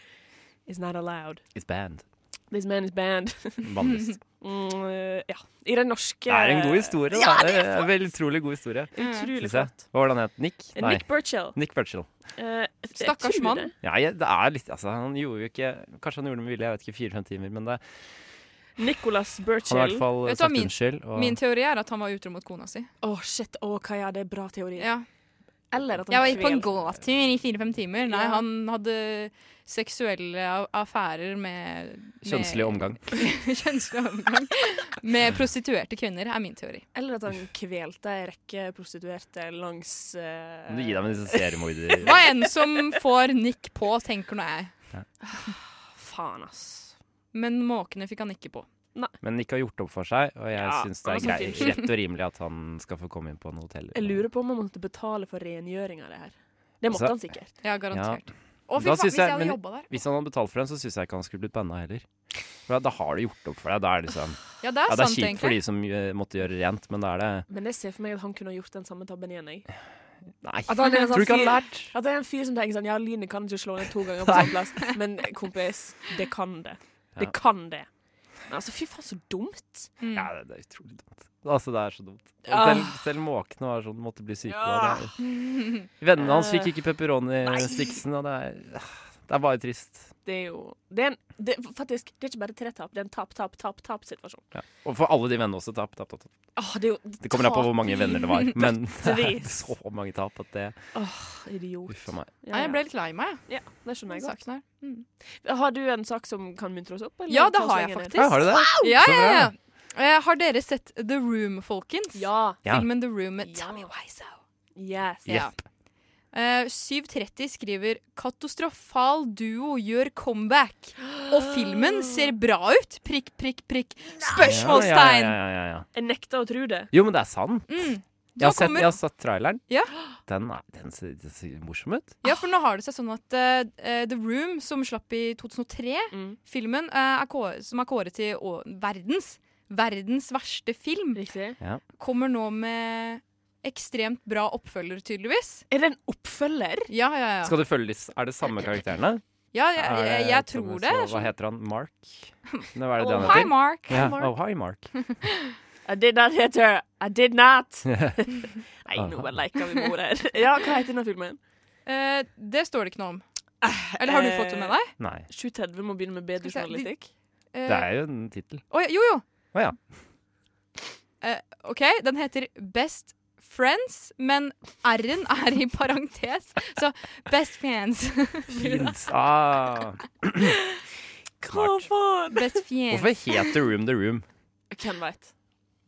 is not allowed.
It's banned.
This man is banned.
Vanligst.
Mm, eh, ja. I den norske
Det er en god historie, da. det er en veldig utrolig god historie.
Utrolig
Lise,
flott.
hva var det han het? Nick? Nei.
Nick Burchell.
Nick Burchill.
Eh, jeg
Stakkars
tror
mann.
det.
Ja, jeg, det er litt Altså, han gjorde jo ikke Kanskje han gjorde det med vilje, jeg vet ikke, fire-fem timer, men det,
Nicholas
han har i
Burchell.
hvert
Å,
fall
Vet du hva
sagt
min-
unnskyld. Og,
Min teori er at han var utro mot kona si.
shit. Å, Kaja, det er bra teori.
Ja.
Eller at han
Jeg var ute på en
kveld.
gåtur i fire-fem timer. Nei,
Ja.
han hadde seksuelle a- affærer med, med
Kjønnslig omgang.
Kjønnslig omgang. Med prostituerte kvinner, er min teori.
Eller at han kvelte ei rekke prostituerte langs eh,
Må du gi deg med disse seriemorder...
Hva enn som får nikk på, tenker nå jeg.
Faen, ass.
Men måkene fikk han ikke på.
Men Nick har gjort opp for seg, og jeg
Ja,
syns det
han
er
har sagt
greit,
unnskyld.
rett og rimelig at han skal få komme inn på en hotell.
Jeg lurer på om han måtte betale for rengjøring av det her. Det måtte
Altså-
han sikkert.
Ja, garantert. Å, fy
Da synes
faen, hvis
jeg-
jeg hadde
men-
jobba der
Hvis han hadde betalt for den, så syns jeg ikke han skulle blitt banna heller. For da, da har du gjort opp for deg. Da er det liksom
Ja, det er
Ja, det er
sant,
kjipt for
egentlig.
de som eh, måtte gjøre rent, men da er det
Men jeg ser for meg at han kunne ha gjort den samme tabben igjen. Jeg.
Nei.
At han er en sånn
Tror du ikke han
fyr,
har lært?
at det er en fyr som tenker sånn Ja, lynet kan ikke slå ned to ganger på samme plass, men kompis, det kan det. Det
Ja.
kan det. Men altså, fy faen, så dumt.
Mm.
Ja, det, det er utrolig dumt. Altså, det er så dumt. Og
Ah.
selv, selv måkene var sånn, måtte bli syke. av det. Vennene hans fikk ikke pepperoni-sticksen, og det er, det er bare trist.
Det er jo Det er, en, det, er faktisk, det er ikke bare tre tap, det er en tap, tap, tap, tap-situasjon.
Ja. Og for alle de vennene også. Tap, tap, tap. tap.
Åh, det er jo
Det kommer an på hvor mange venner det var, men det
bøttevis.
er så mange tap at det
Idiot.
Uff a meg.
Ja,
Nei,
ja.
jeg ble litt lei meg,
ja, det skjønner
jeg.
jeg godt.
Saken her. Mm.
Har du en sak som kan muntre oss opp? eller
Ja, det
ta oss
har jeg
lenger ned?
faktisk.
Ja, har du det?
Ja,
Så
ja,
bra.
ja. Eh, har dere sett The Room, folkens?
Ja.
Ja.
Filmen The Room med
Ja.
Tommy Wiseau.
Yes.
Ja. Eh, 730 skriver 'Katastrofal duo gjør comeback'. Og filmen ser bra ut! Prikk, prikk, prikk. Spørsmålstegn!
Ja, ja, ja, ja, ja.
Jeg nekter å tro det.
Jo, men det er sant.
Mm.
Jeg
Da
har sett,
kommer-
jeg har sett traileren.
Ja.
Den, er, den, ser, den ser morsom ut.
Ja, for nå har det seg sånn at eh, The Room, som slapp i 2003,
Mm.
filmen eh, er kå- som er kåret til å, verdens, verdens verste film,
Riktig.
kommer nå med ekstremt bra oppfølger, tydeligvis.
Er det en oppfølger?
Ja, ja, ja.
Skal du følge disse Er det samme karakterene?
ja jeg,
Er
jeg, jeg,
Thomas
tror det.
og- Hva heter han? Mark? Nå er det det
Oh,
han
hi,
heter.
Mark.
Ja. Oh, hi, Mark.
I did not hit her. I did not. Nei, nå bare leker vi med ord her. Ja, hva heter denne filmen?
Eh, det står det ikke noe om. Eller har du fått det med deg?
Nei,
730 må begynne med bedre
Skal vi se,
journalistikk.
Eh,
det er jo en tittel.
Å, ja, jo, jo.
Å, ja.
Eh, OK, den heter Best Friends, men R-en er i parentes, så Best Fans.
Fint. Ah.
Hva
Smart.
faen?
Best Fiends.
Hvorfor het The Room The Room?
Hvem veit?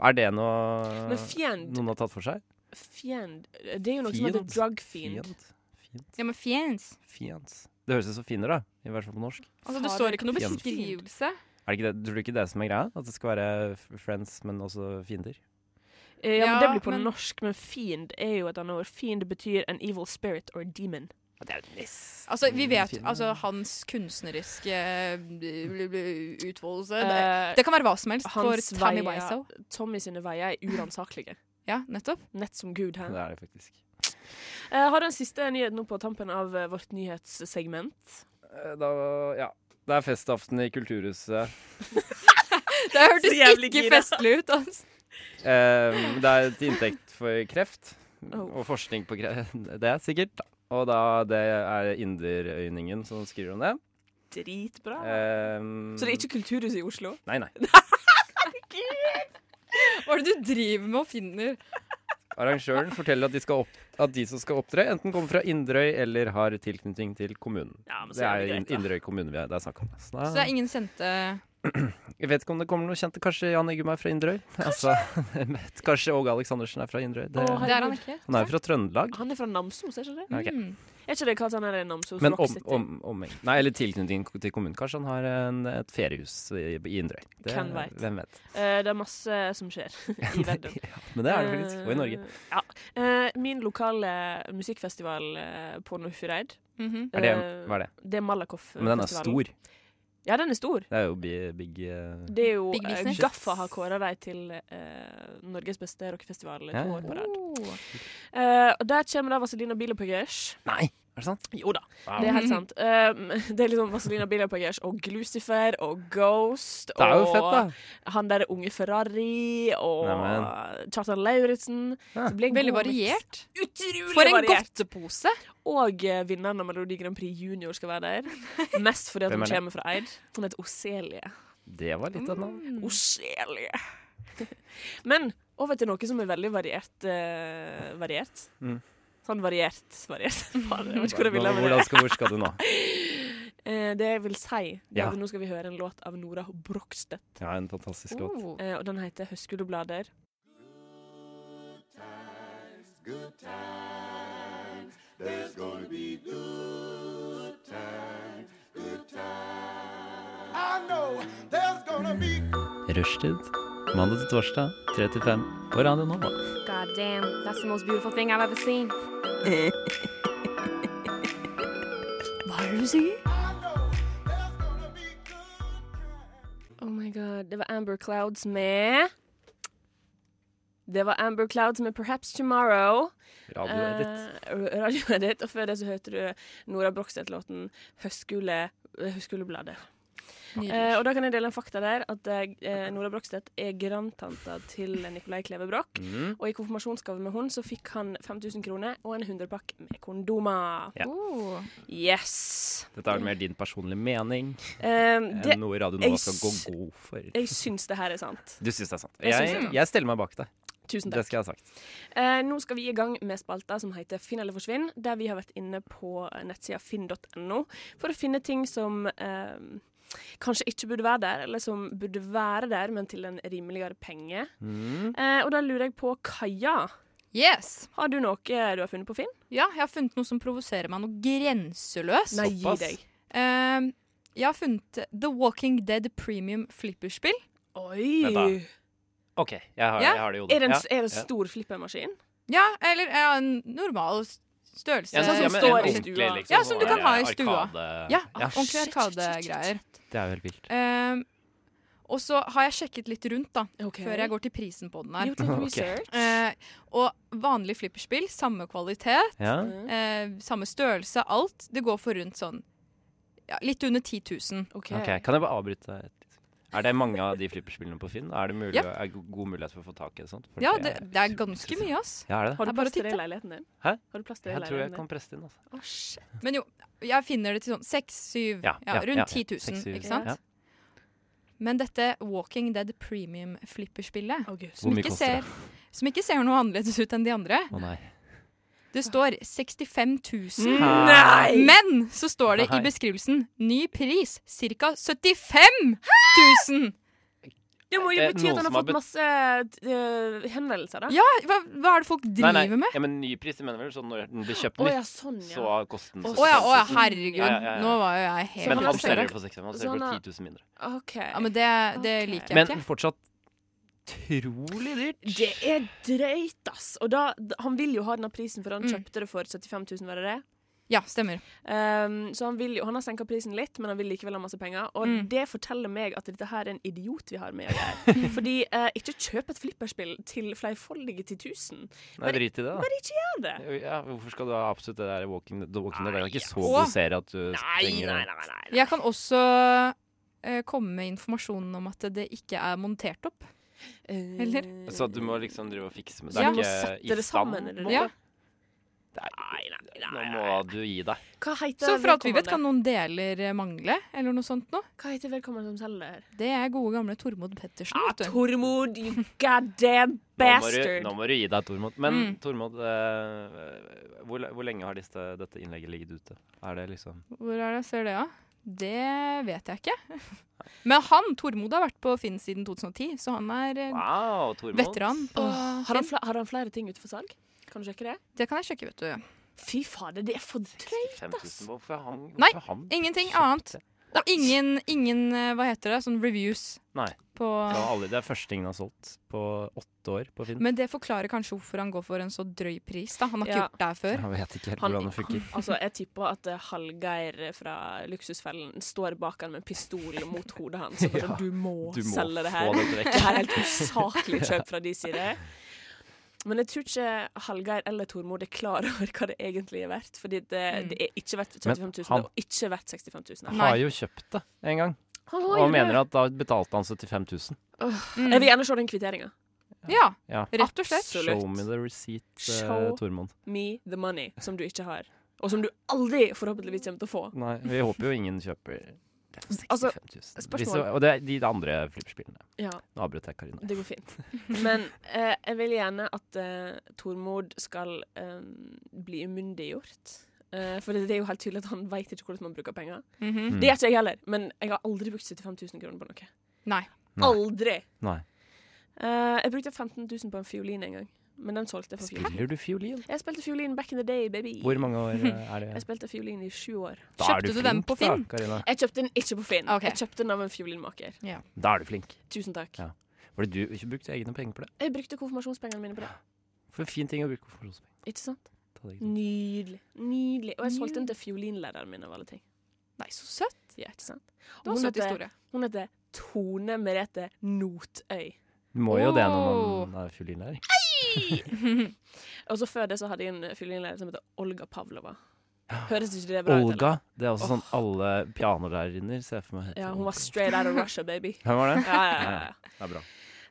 Er det
Men
noe
fiend,
noen har tatt for seg?
fiend Det er jo noe som heter
Fiend.
drug fiend.
Fint.
Ja, men Fiends.
Fint. Det høres ut som finner, da. I hvert fall på norsk.
Altså, det står ikke noe
Fiends.
beskrivelse.
Er det ikke det? Tror du ikke det som er greia? At det skal være f- friends, men også fiender?
Eh, Ja, men
Ja,
Det blir på
men-
norsk, men fiend er jo et annet ord. Fiend betyr an evil spirit or demon.
Det er jo nesten
Altså, vi vet
fiender.
altså, hans kunstneriske eh, bl- bl- utfoldelse. Det,
Eh,
det kan være hva som helst for
hans
Tammy
veier-
Wiseau.
Tommy sine veier er uransakelige.
Ja, nettopp.
Nett som Gud her.
Det er det faktisk.
Jeg har en siste nyhet nå på tampen av eh, vårt nyhetssegment.
Eh, Da, ja. Det er festaften i Kulturhuset.
Det hørtes
jævlig
ikke
gira.
festlig ut. Altså.
Eh, det er til inntekt for kreft,
Oh.
og forskning på kreft, det er sikkert. da. Og da det er Inderøyningen som skriver om det.
Dritbra.
Eh,
Så det er ikke Kulturhuset i Oslo?
Nei, nei.
Hva er det du driver med og finner?
Arrangøren forteller at de, skal opp, at de som skal opptre, enten kommer fra Inderøy eller har tilknytning til kommunen.
Ja, men så
Det
er
er
det greit, da.
Inderøy kommune vi er, det er snakk om. Så
Så det
da,
er ingen sendte
jeg vet ikke om det kommer noe kjente. Kanskje Jan Eggum er fra Inderøy? Altså, kanskje Åge Aleksandersen er fra Inderøy? Det,
Å,
Det er han ikke.
han er jo fra Trøndelag.
Han er fra Namsos, er ikke det?
Ok.
Mm.
Er ikke det kalt sånn her Namsos
Men
Rock
om,
City?
om, om, nei, eller tilknytning til kommunen. Kanskje han har en, et feriehus i, i Inderøy. Det-
Hvem vet?
Hvem vet.
Eh, det er masse som skjer i verden.
Men det er det faktisk. Og i Norge.
Eh, ja. Eh, min lokale musikkfestival eh, på Nordfjordeid
Mhm.
Er det,
eh,
hva er det?
Det er Malakoff-festivalen.
Men den er stor.
Ja, den er stor.
Det er jo bi- big eh,
Det er jo
Big
eh,
business.
Gaffa har kåra dem til eh, Norges beste rockefestival to
Ja.
år på rad.
Oh.
Eh, og der kommer da Vazelina Bilopphøggers.
Nei! Er det sant?
Jo da, det er helt sant. Um, det er liksom Vazelina Bilopphøggers og Glucifer og Ghost
Det er jo
og
fett, da.
han derre unge Ferrari og
Neimen.
Kjartan Lauritzen. Så
Ja.
det blir en
Veldig
god mix.
variert.
Utrolig
For en
variert.
godtepose.
Og eh, vinneren av Melodi Grand Prix Junior skal være der. Mest fordi at
Hvem
hun
er det?
kommer fra Eid. Hun heter Oselie.
Det var litt av et
Mm,
navn.
Oselie. Men over til noe som er veldig variert. eh, variert.
Mm.
Sånn variert, variert. Faen, jeg vet ikke hvor jeg ville med det.
Hvordan skal, hvor skal du nå?
Eh, det jeg vil si, det er
Ja.
at nå skal vi høre en låt av Nora Brogstøt.
Ja, en fantastisk låt.
Oh.
Eh, og den heter 'Høskuleblader'.
Rushtid. Mandag til torsdag, 3 til 5 på Radio Nova.
God damn, that's the most beautiful thing I've ever seen.
Hva er det du sier? Oh my god. Det var Amber Clouds med Det var Amber Clouds med 'Perhaps Tomorrow'.
Radio Edit.
Eh, Radio Edit. Og før det så hørte du Nora Brogstøt-låten 'Høskule'. Høskulebladet. Eh, og da kan jeg dele en fakta der at eh, Nora Brogstedt er grandtanta til Nicolai Kleve Broch.
Mm.
Og i konfirmasjonsgave med hun så fikk han 5000 kroner og en hundrepakk med kondomer.
Ja.
Oh.
Yes!
Dette er vel mer din personlige mening
Eh, det,
enn noe Radio
jeg
Nova skal
s-
gå god for.
jeg syns det her er sant.
Du syns det er sant.
Jeg syns
Jeg,
det.
jeg stiller meg bak deg.
Tusen
Det
takk.
skal jeg ha sagt.
Eh, nå skal vi i gang med spalta som heter Finn eller forsvinn, der vi har vært inne på eh, nettsida finn.no for å finne ting som eh, kanskje ikke burde være der, eller som
Mm.
Mm. burde være der, men til en rimeligere penge. Eh, og da lurer jeg på Kaja.
Yes.
Har du noe du har funnet på Finn?
Ja, jeg har funnet noe som provoserer meg noe grenseløst.
Nei, gi
Såpass.
deg.
Eh, jeg har funnet The Walking Dead Premium Flipperspill.
Vent da.
Oi!
OK, jeg har,
Ja.
jeg har det i hodet.
Er det en,
Ja.
er det en
Ja.
stor flippermaskin?
Ja, eller ja, en normal s- størrelse.
Ja,
sånn som
ja, men en
står i
ordentlig,
stua.
liksom,
Ja, som du
sånn
kan
der
ha i stua.
arkade-
Ja, ah,
ja,
ordentlig
shit, shit, shit, shit,
arkadegreier.
det er jo helt vilt.
Um, og så har jeg sjekket litt rundt da,
Ok.
før jeg går til prisen på den her.
Gjort litt
Ok.
research?
Eh, og vanlig flipperspill, samme kvalitet,
Ja.
Ja.
eh, samme størrelse, alt. Det går for rundt sånn ja, litt under 10 000.
OK.
Ok, Kan jeg bare avbryte deg? et- Er det mange av de flipperspillene på Finn? Er det mulig,
Ja.
er go- god mulighet for å få tak i et sånt? Fordi
Ja,
jeg-
det, det er ganske mye, ass.
Ja, er det
Har
det?
Det
du
er bare
plass til det
å
i
titte.
leiligheten din?
Hæ?
Har du plass til det i
Jeg tror jeg
leiligheten
kan
din?
presse det inn. Altså.
Å, shit.
Men jo, jeg finner det til sånn 6-7, ja,
Ja, ja, ja, ja.
rundt 10 000,
Seks, syv,
ikke sant?
ja.
Men dette Walking Dead Premium flipperspillet,
August.
Hvor
som
mye
ikke,
koster det?
ser, som ikke ser noe annerledes ut enn de andre,
Å nei.
det står 65 000
Nei!
Men så står det i
Nei.
beskrivelsen ny pris ca. 75 000!
Det må jo
Eh,
bety
noen
at han
som
har
har
fått
bet-
masse eh, henvendelser, da.
Ja, hva, hva er det folk driver
nei, nei.
med?
Ja, men ny pris, jeg mener vel sånn når den blir kjøpt
Å
nytt,
ja, sånn,
så
ja.
har kosten
Å
Å ja, å sånn ja,
65 000.
herregud.
Ja, ja, ja.
Nå var jo jeg helt
Så
Men
han
han
har
selger
selger-
det for 65 han
så
selger det
han
for
har-
10 000 mindre.
OK.
Ja, men det, det
Ok.
liker jeg
Men
ikke.
fortsatt utrolig dyrt.
Det er drøyt, ass. Og da, d- han vil jo ha denne prisen, for han
Mm.
kjøpte det for 75 000, var det det?
Ja, stemmer.
Ehm, så han, vil jo, han har senka prisen litt, men han vil likevel ha masse penger. Og
Mm.
det forteller meg at dette her er en idiot vi har med å gjøre. Fordi eh, ikke kjøp et flipperspill til flerfoldige til tusen.
Nei, drit i det, da.
Gjør det!
Ja, hvorfor skal du ha absolutt det der Walking Dead? The Walking Dead er jo ikke så
Åh.
god serie at du trenger å-
Jeg kan også eh, komme med informasjonen om at det ikke er montert opp. Eller?
Så at du må liksom drive og fikse med deg
Ja. Du må
ikke
sette
i
det
stand?
sammen, eller?
på en
Ja.
måte? Nå må du gi deg.
Hva heter
Så for alt vi vet, kan
vedkommende?
noen deler eh, mangle, eller noe sånt noe.
Hva heter vedkommende som selger det her?
Det er gode gamle Tormod Pettersen.
Ah,
vet du.
Tormod, you goddamn
Nå må, du,
bastard!
nå må du gi deg, Tormod. Men
Mm.
Tormod, eh, hvor, hvor lenge har disse, dette innlegget ligget ute? Er det liksom
Hvor er det jeg ser det, ja? Det vet jeg ikke. Men han, Tormod, har vært på Finn siden 2010, så han er eh,
Wow, Tormod.
veteran. På
Åh, har, han
Finn.
fl- har han flere ting ute for salg? Kan du sjekke det?
Det kan jeg sjekke, vet du.
Fy fader, det er for drøyt!
65 000. Hvorfor er han,
Nei,
hvorfor er han?
Ingenting annet. Og ingen, ingen eh, hva heter det, sånn reviews
Nei.
på
Det var aldri- det er første tingen han har solgt på åtte år på Finn.
Men det forklarer kanskje hvorfor han går for en så drøy pris, da. Han har ikke
Ja.
gjort det her før.
Jeg vet ikke helt
Han-
hvordan det funker.
Altså, Jeg tipper at eh, Hallgeir fra Luksusfellen står bak han med en pistol mot hodet hans. Og bare, sånn,
Ja,
du må
Du må
selge det
få
her.
dette
Det
vekk.
her er helt usaklig kjøp fra de side. Men jeg tror ikke Hallgeir eller Tormod er klar over hva det egentlig er verdt. Fordi det,
Mm.
det er ikke verdt
Men
75 000,
han-
og ikke verdt 65 000.
Han har jo kjøpt det en gang,
Han
og han mener at da betalte han 75 000.
Mm.
Jeg vil gjerne se den kvitteringa.
Ja,
Ja.
rett og slett.
Show me
Absolutt.
the receipt, eh,
Show-
Tormod.
Me the money, som du ikke har. Og som du aldri forhåpentligvis kommer til å få.
Nei, vi håper jo ingen kjøper det for 65 000.
Altså,
Hvis
spørsmål.
det- og det er de andre flippspillene.
Ja,
Nå avbrøt jeg Karina.
Det går fint. Men eh, jeg vil gjerne at eh, Tormod skal eh, bli umyndiggjort. Eh, for det, det er jo helt tydelig at han veit ikke hvordan man bruker penger.
Mm.
Mhm.
Det gjør ikke jeg heller, men jeg har aldri brukt 75 000 kroner på noe.
Nei.
Nei.
Aldri!
Nei.
Eh, jeg brukte 15 000 på en fiolin en gang, men den solgte jeg for fiolin.
Spiller du fiolin?
Jeg spilte fiolin back in the day, baby.
Hvor mange år eh, er
Jeg
det?
spilte fiolin i sju år.
Da er
Kjøpte
du
du
flink,
den på Finn?
Da, Karina.
Jeg kjøpte den ikke på Finn.
Ok.
Jeg kjøpte den av en fiolinmaker.
da er du flink.
Tusen takk.
Ja. Var det du ikke brukte egne penger på det?
Jeg brukte konfirmasjonspengene mine på det.
For fin ting å bruke konfirmasjonspenger.
Ikke sant?
Ta det, ikke sant?
Nydelig. Nydelig. Og jeg solgte den til fiolinlæreren min av alle ting.
Nei, så søtt.
Ja, ikke sant?
Det var
Hun
søtt
heter-
historie.
Hun heter Tone Merete Notøy.
Du må jo det når
Åh.
man er fiolinlærer.
Og så før det så hadde jeg en fiolinlærer som heter Olga Pavlova. Høres ikke det bra ut? eller?
Olga. Det er også sånn alle pianolærerinner ser jeg for meg. heter
Ja, hun
Olga.
var straight out of Russia, baby.
Hvem var det?
Ja, ja, ja, ja.
Det er bra.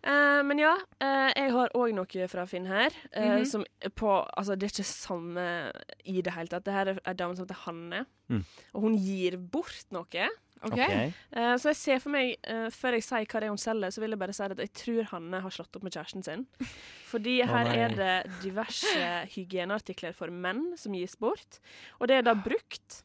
Eh, men ja, eh, jeg har òg noe fra Finn her. eh,
Mhm.
Som på Altså, det er ikke samme i det hele tatt. Det her er ei dame som heter Hanne.
Mm.
Og hun gir bort noe.
Ok.
Ok.
Eh, så jeg ser for meg, eh, før jeg sier hva det er hun selger, så vil jeg bare si at jeg tror Hanne har slått opp med kjæresten sin. Fordi her
nei.
er det diverse hygieneartikler for menn som gis bort. Og det er da brukt.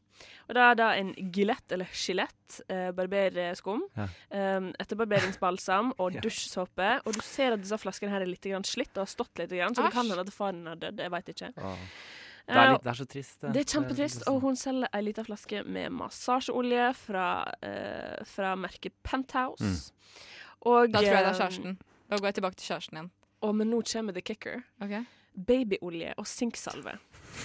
Og da er det en gillett, eller skjelett, eh, barberskum.
Ja.
Um, etter barberingsbalsam og dusjsåpe. Og du ser at disse flaskene her er litt grann slitt og har stått litt, grann, så det kan
Æsj.
hende at faren har dødd. Jeg veit ikke.
Åh, det, er
Eh,
litt, det er så trist.
det er
Eh,
kjempetrist,
liksom.
og hun selger ei lita flaske med massasjeolje fra, eh, fra merket
Mm.
Penthouse. Og,
Da tror jeg det er
eh,
kjæresten. Da går jeg tilbake til kjæresten igjen.
Og, men nå kommer the kicker.
Ok?
Babyolje og sinksalve.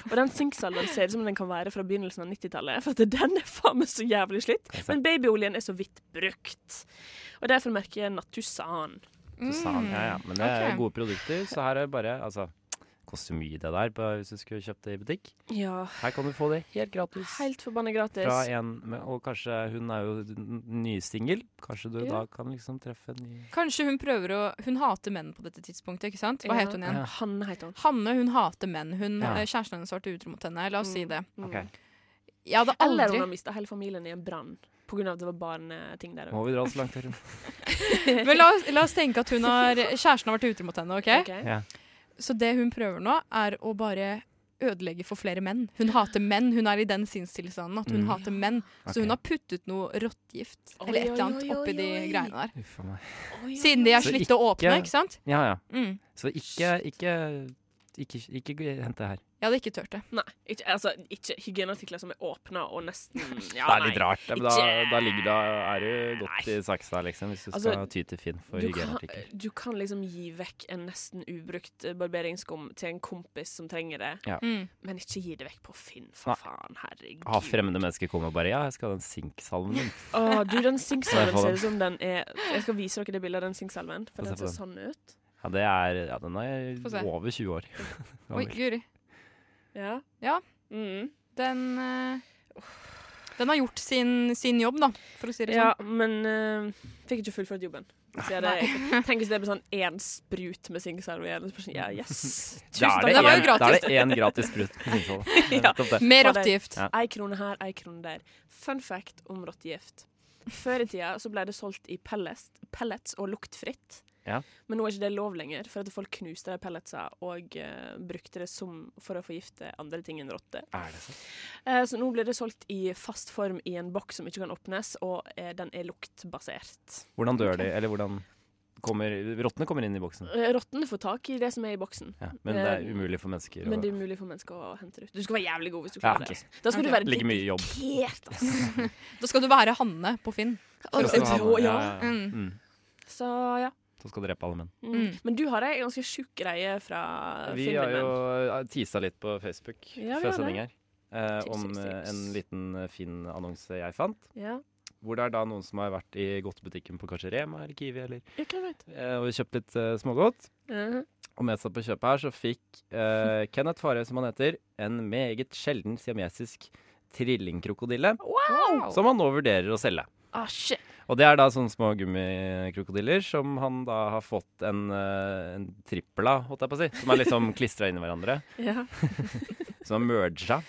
Og den sinksalven ser ut som den kan være fra begynnelsen av 90-tallet, for at den er faen meg så jævlig slitt.
Jeg ser.
Men babyoljen er så vidt brukt. Og derfor merker jeg Natusan.
Så sa han, ja, ja. Men det er
ok.
gode produkter, så her er det bare Altså, koster mye det der på, hvis du skulle kjøpt det i butikk.
Ja,
Her kan du få det helt gratis.
helt forbanna gratis.
fra en, med, og kanskje hun er jo n- nysingel. Kanskje du
Ja.
da kan liksom treffe en ny
Mm. Kanskje hun prøver å Hun hater menn på dette tidspunktet, ikke sant? Hva
Ja.
het hun igjen?
Ja.
Hanne heter hun.
Hanne, hun hater menn. Hun,
Ja.
eh, Kjæresten hennes har vært utro mot henne. La oss si det.
Mm.
Ok.
Jeg hadde
Eller hun
aldri
har mista hele familien i en brann pga. at det var barneting der
Må vi dra oss langt her?
Men la oss, la oss tenke at hun har, kjæresten har vært utro mot henne. ok?
Ok.
Så det hun prøver nå, er å bare ødelegge for flere menn. Hun hater menn. Hun er i den sinnstilstanden at hun
Mm.
hater menn. Så
Ok.
hun har puttet noe råttgift
Oi,
eller et eller
oi,
annet
oi,
oppi de
oi.
greiene der.
Uff a meg.
Oi,
Siden de er
Så
slitt å åpne,
ikke-
ikke sant?
Ja ja.
Mm.
Så ikke Ikke, ikke, ikke, gå- hent det her.
Jeg hadde ikke turt det.
Nei, ikke, altså, ikke hygieneartikler som er åpna og nesten ja,
det er litt
nei.
rart. ja, Men da,
Ikke-
da ligger du Er du godt i saksa, liksom, hvis du
Altså,
skal ty til Finn for
Du kan,
hygieneartikkel.
du kan liksom gi vekk en nesten ubrukt eh, barberingsskum til en kompis som trenger det,
Mm.
men ikke gi det vekk på Finn, for
Nei.
faen. Herregud.
Har fremmede mennesker kommet og bare Ja, jeg skal ha den sinksalven din.
Å, du, den sinksalven
Nei, faen.
ser ut som den er Jeg skal vise dere det bildet av den sinksalven,
Få
for den
se
ser
på
sånn ut.
Ja, det er Ja, den
Få se.
er over 20 år.
Oi, Guri.
Ja.
Ja.
Mm.
Den eh, Den har gjort sin, sin jobb, da, for å si det
ja
sånn.
men eh, fikk ikke fullført jobben. Så jeg hadde, tenk hvis det ble sånn én sprut med sinksalve igjen. så bare sånn, Ja, yes.
Da er
Tusen takk.
det en-
Det var jo
da er
gratis.
det én gratis sprut. på Sinksalven. Det er nettopp det.
sånn. Med
Ja.
råttgift.
Ja.
Ei krone her, ei krone der. Fun fact om rottegift. Før i tida så ble det solgt i pellets, pellets og luktfritt.
Ja.
Men nå er ikke det lov lenger, for at folk knuste de pelletsa og eh, brukte det som for å forgifte andre ting enn rotter.
Er det sant?
Eh, så nå blir det solgt i fast form i en boks som ikke kan åpnes, og eh, den er luktbasert.
Hvordan dør de? Eller hvordan kommer Rottene kommer inn i boksen.
Eh, Rottene får tak i det som er i boksen.
Ja, men det er umulig for mennesker
Men det
å
er umulig for mennesker å hente det ut. Du skal være jævlig god hvis du
Ja,
klarer
ok.
det. altså. Da skal
Ok.
du være
Ligger mye jobb.
dedikert, altså.
Da skal du være Hanne på Finn.
Da skal du ha noe-
ja.
ja, ja, ja.
Mm.
Mm.
Så ja.
Så skal du drepe alle menn.
Mm.
Mm.
Men du har ei ganske sjuk greie fra
Vi har jo tisa litt på Facebook
Ja, vi har
før sending her. eh,
Tips,
om
tips,
eh,
tips.
en liten eh, fin annonse jeg fant.
Ja.
Hvor det er da noen som har vært i godtebutikken på kanskje Rema eller Kiwi eller,
Jeg kan vite.
eh, og kjøpt litt eh, smågodt.
Mhm.
Og med seg på kjøpet her så fikk eh, Kenneth Farøy, som han heter, en meget sjelden siamesisk trillingkrokodille. Som han nå vurderer å selge.
Ah, shit.
Og det er da sånne små gummikrokodiller som han da har fått en, eh, en trippel av, holdt jeg på å si. Som er liksom klistra inn i hverandre.
Ja.
Som er merga.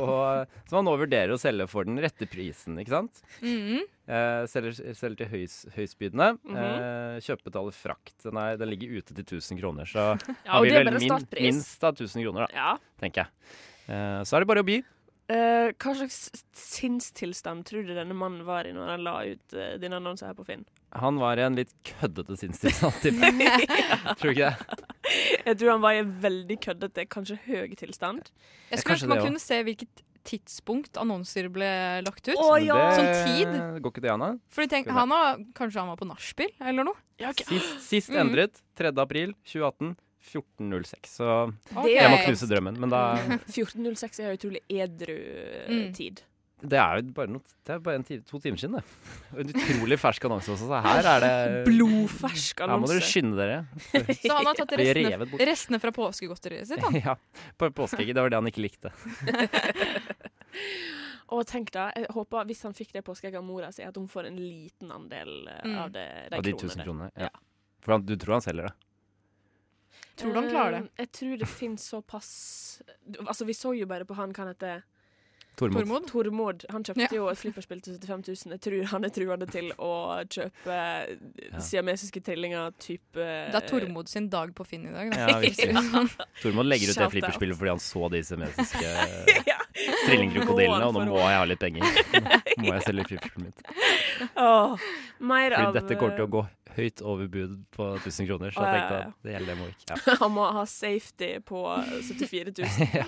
Og eh, som han nå vurderer å selge for den rette prisen, ikke sant.
Mm.
Eh, selger, selger til høys, høysbydende.
Mhm.
eh, kjøpebetaler frakt. Den, er, den ligger ute til 1000 kroner, så
ja,
har
og
vi
det er
vel
bare
min,
startpris.
minst da 1000 kroner, da,
Ja.
tenker jeg. Eh, så er det bare å by.
Eh, hva slags sinnstilstand tror du denne mannen var i når han la ut eh, din annonse her på Finn?
Han var i en litt køddete sinnstilstand, tipper jeg. Tror du ikke det?
Jeg tror han var i en veldig køddete, kanskje høy tilstand.
Jeg
Ja,
skulle
kanskje
ønske man
det også.
kunne se hvilket tidspunkt annonser ble lagt ut.
Å,
Men
ja.
det
Som tid?
går ikke det, Anna.
Fordi tenk,
Skulle
han har, Kanskje han var på nachspiel eller noe?
Ja, ok. Mhm.
Sist, sist
Mm.
endret 3. april 2018. 14.06, så
Det
jeg må
er-
knuse drømmen. Men da
14.06 er jo utrolig edru eh,
Mm.
tid.
Det er jo bare, noe, det er bare en time, to timer siden, det. En utrolig fersk annonse også, så her er det
Blodfersk
Eh, Her må dere
annonse.
skynde dere.
Så han har tatt
Bli
restene,
revet bort.
restene fra påskegodteriet sitt. Han.
Ja, på påskeegget. Det var det han ikke likte.
Og tenk da, jeg håper hvis han fikk det påskeegget av mora si, at hun får en liten andel eh,
Mm.
av det, de,
Av de
kronene.
1000 kronene. Ja. For han, du tror han selger det?
Tror du han klarer det?
Eh, Jeg tror det finnes såpass Du- Altså, vi så jo bare på han, hva han heter
Tormod.
Tormod?
Tormod. Han kjøpte
Ja.
jo et flipperspill til 75 000. Jeg tror han er truende til å kjøpe siamesiske trillinger type
Det er Tormod sin dag på Finn i dag. Da.
Ja, virkelig. Tormod legger ut det
Shout out.
flipperspillet fordi han så de semesiske
Ja.
eh, Trillingkrokodillene, og nå
Mål for
må jeg ha litt penger. Nå må jeg selge fyrfuglen mitt.
Åh, mer
Fordi
av
dette kommer til å gå høyt over bud på 1000 kroner, så
Å,
jeg
ja,
tenkte
ja, ja.
at det gjelder det må ikke. Ja.
Han må ha safety på 74 000.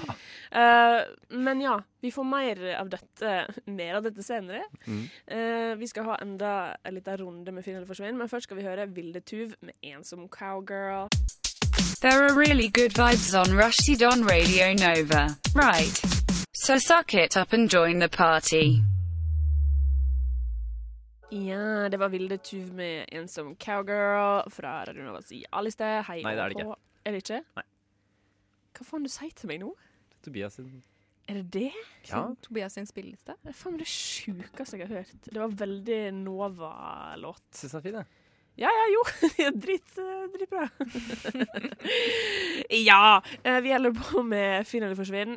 Eh, men ja, vi får mer av dette, mer av dette senere.
Mm.
Eh, vi skal ha enda en liten runde med Finn eller forsvinn, men først skal vi høre Vilde Tuv med 'Ensom Cowgirl'.
There are really good vibes on Rushdie on Radio Nova. Right. So suck it up and join the party.
Ja, det var Vilde Tuv med 'Ensom Cowgirl' fra Radio Novas A-liste. Hei
Nei, det er
og
det ikke.
hå. Er det ikke?
Nei.
Hva faen du sier til meg nå?
Tobias sin
Er det det?
Ja.
Tobias sin spilleliste.
Det er faen det sjukeste jeg har hørt. Det var veldig Nova-låt.
Syns den er fin, jeg.
Ja, ja, jo. Det er Drit, eh, dritbra. ja. eh, Vi holder på med Finn eller forsvinn,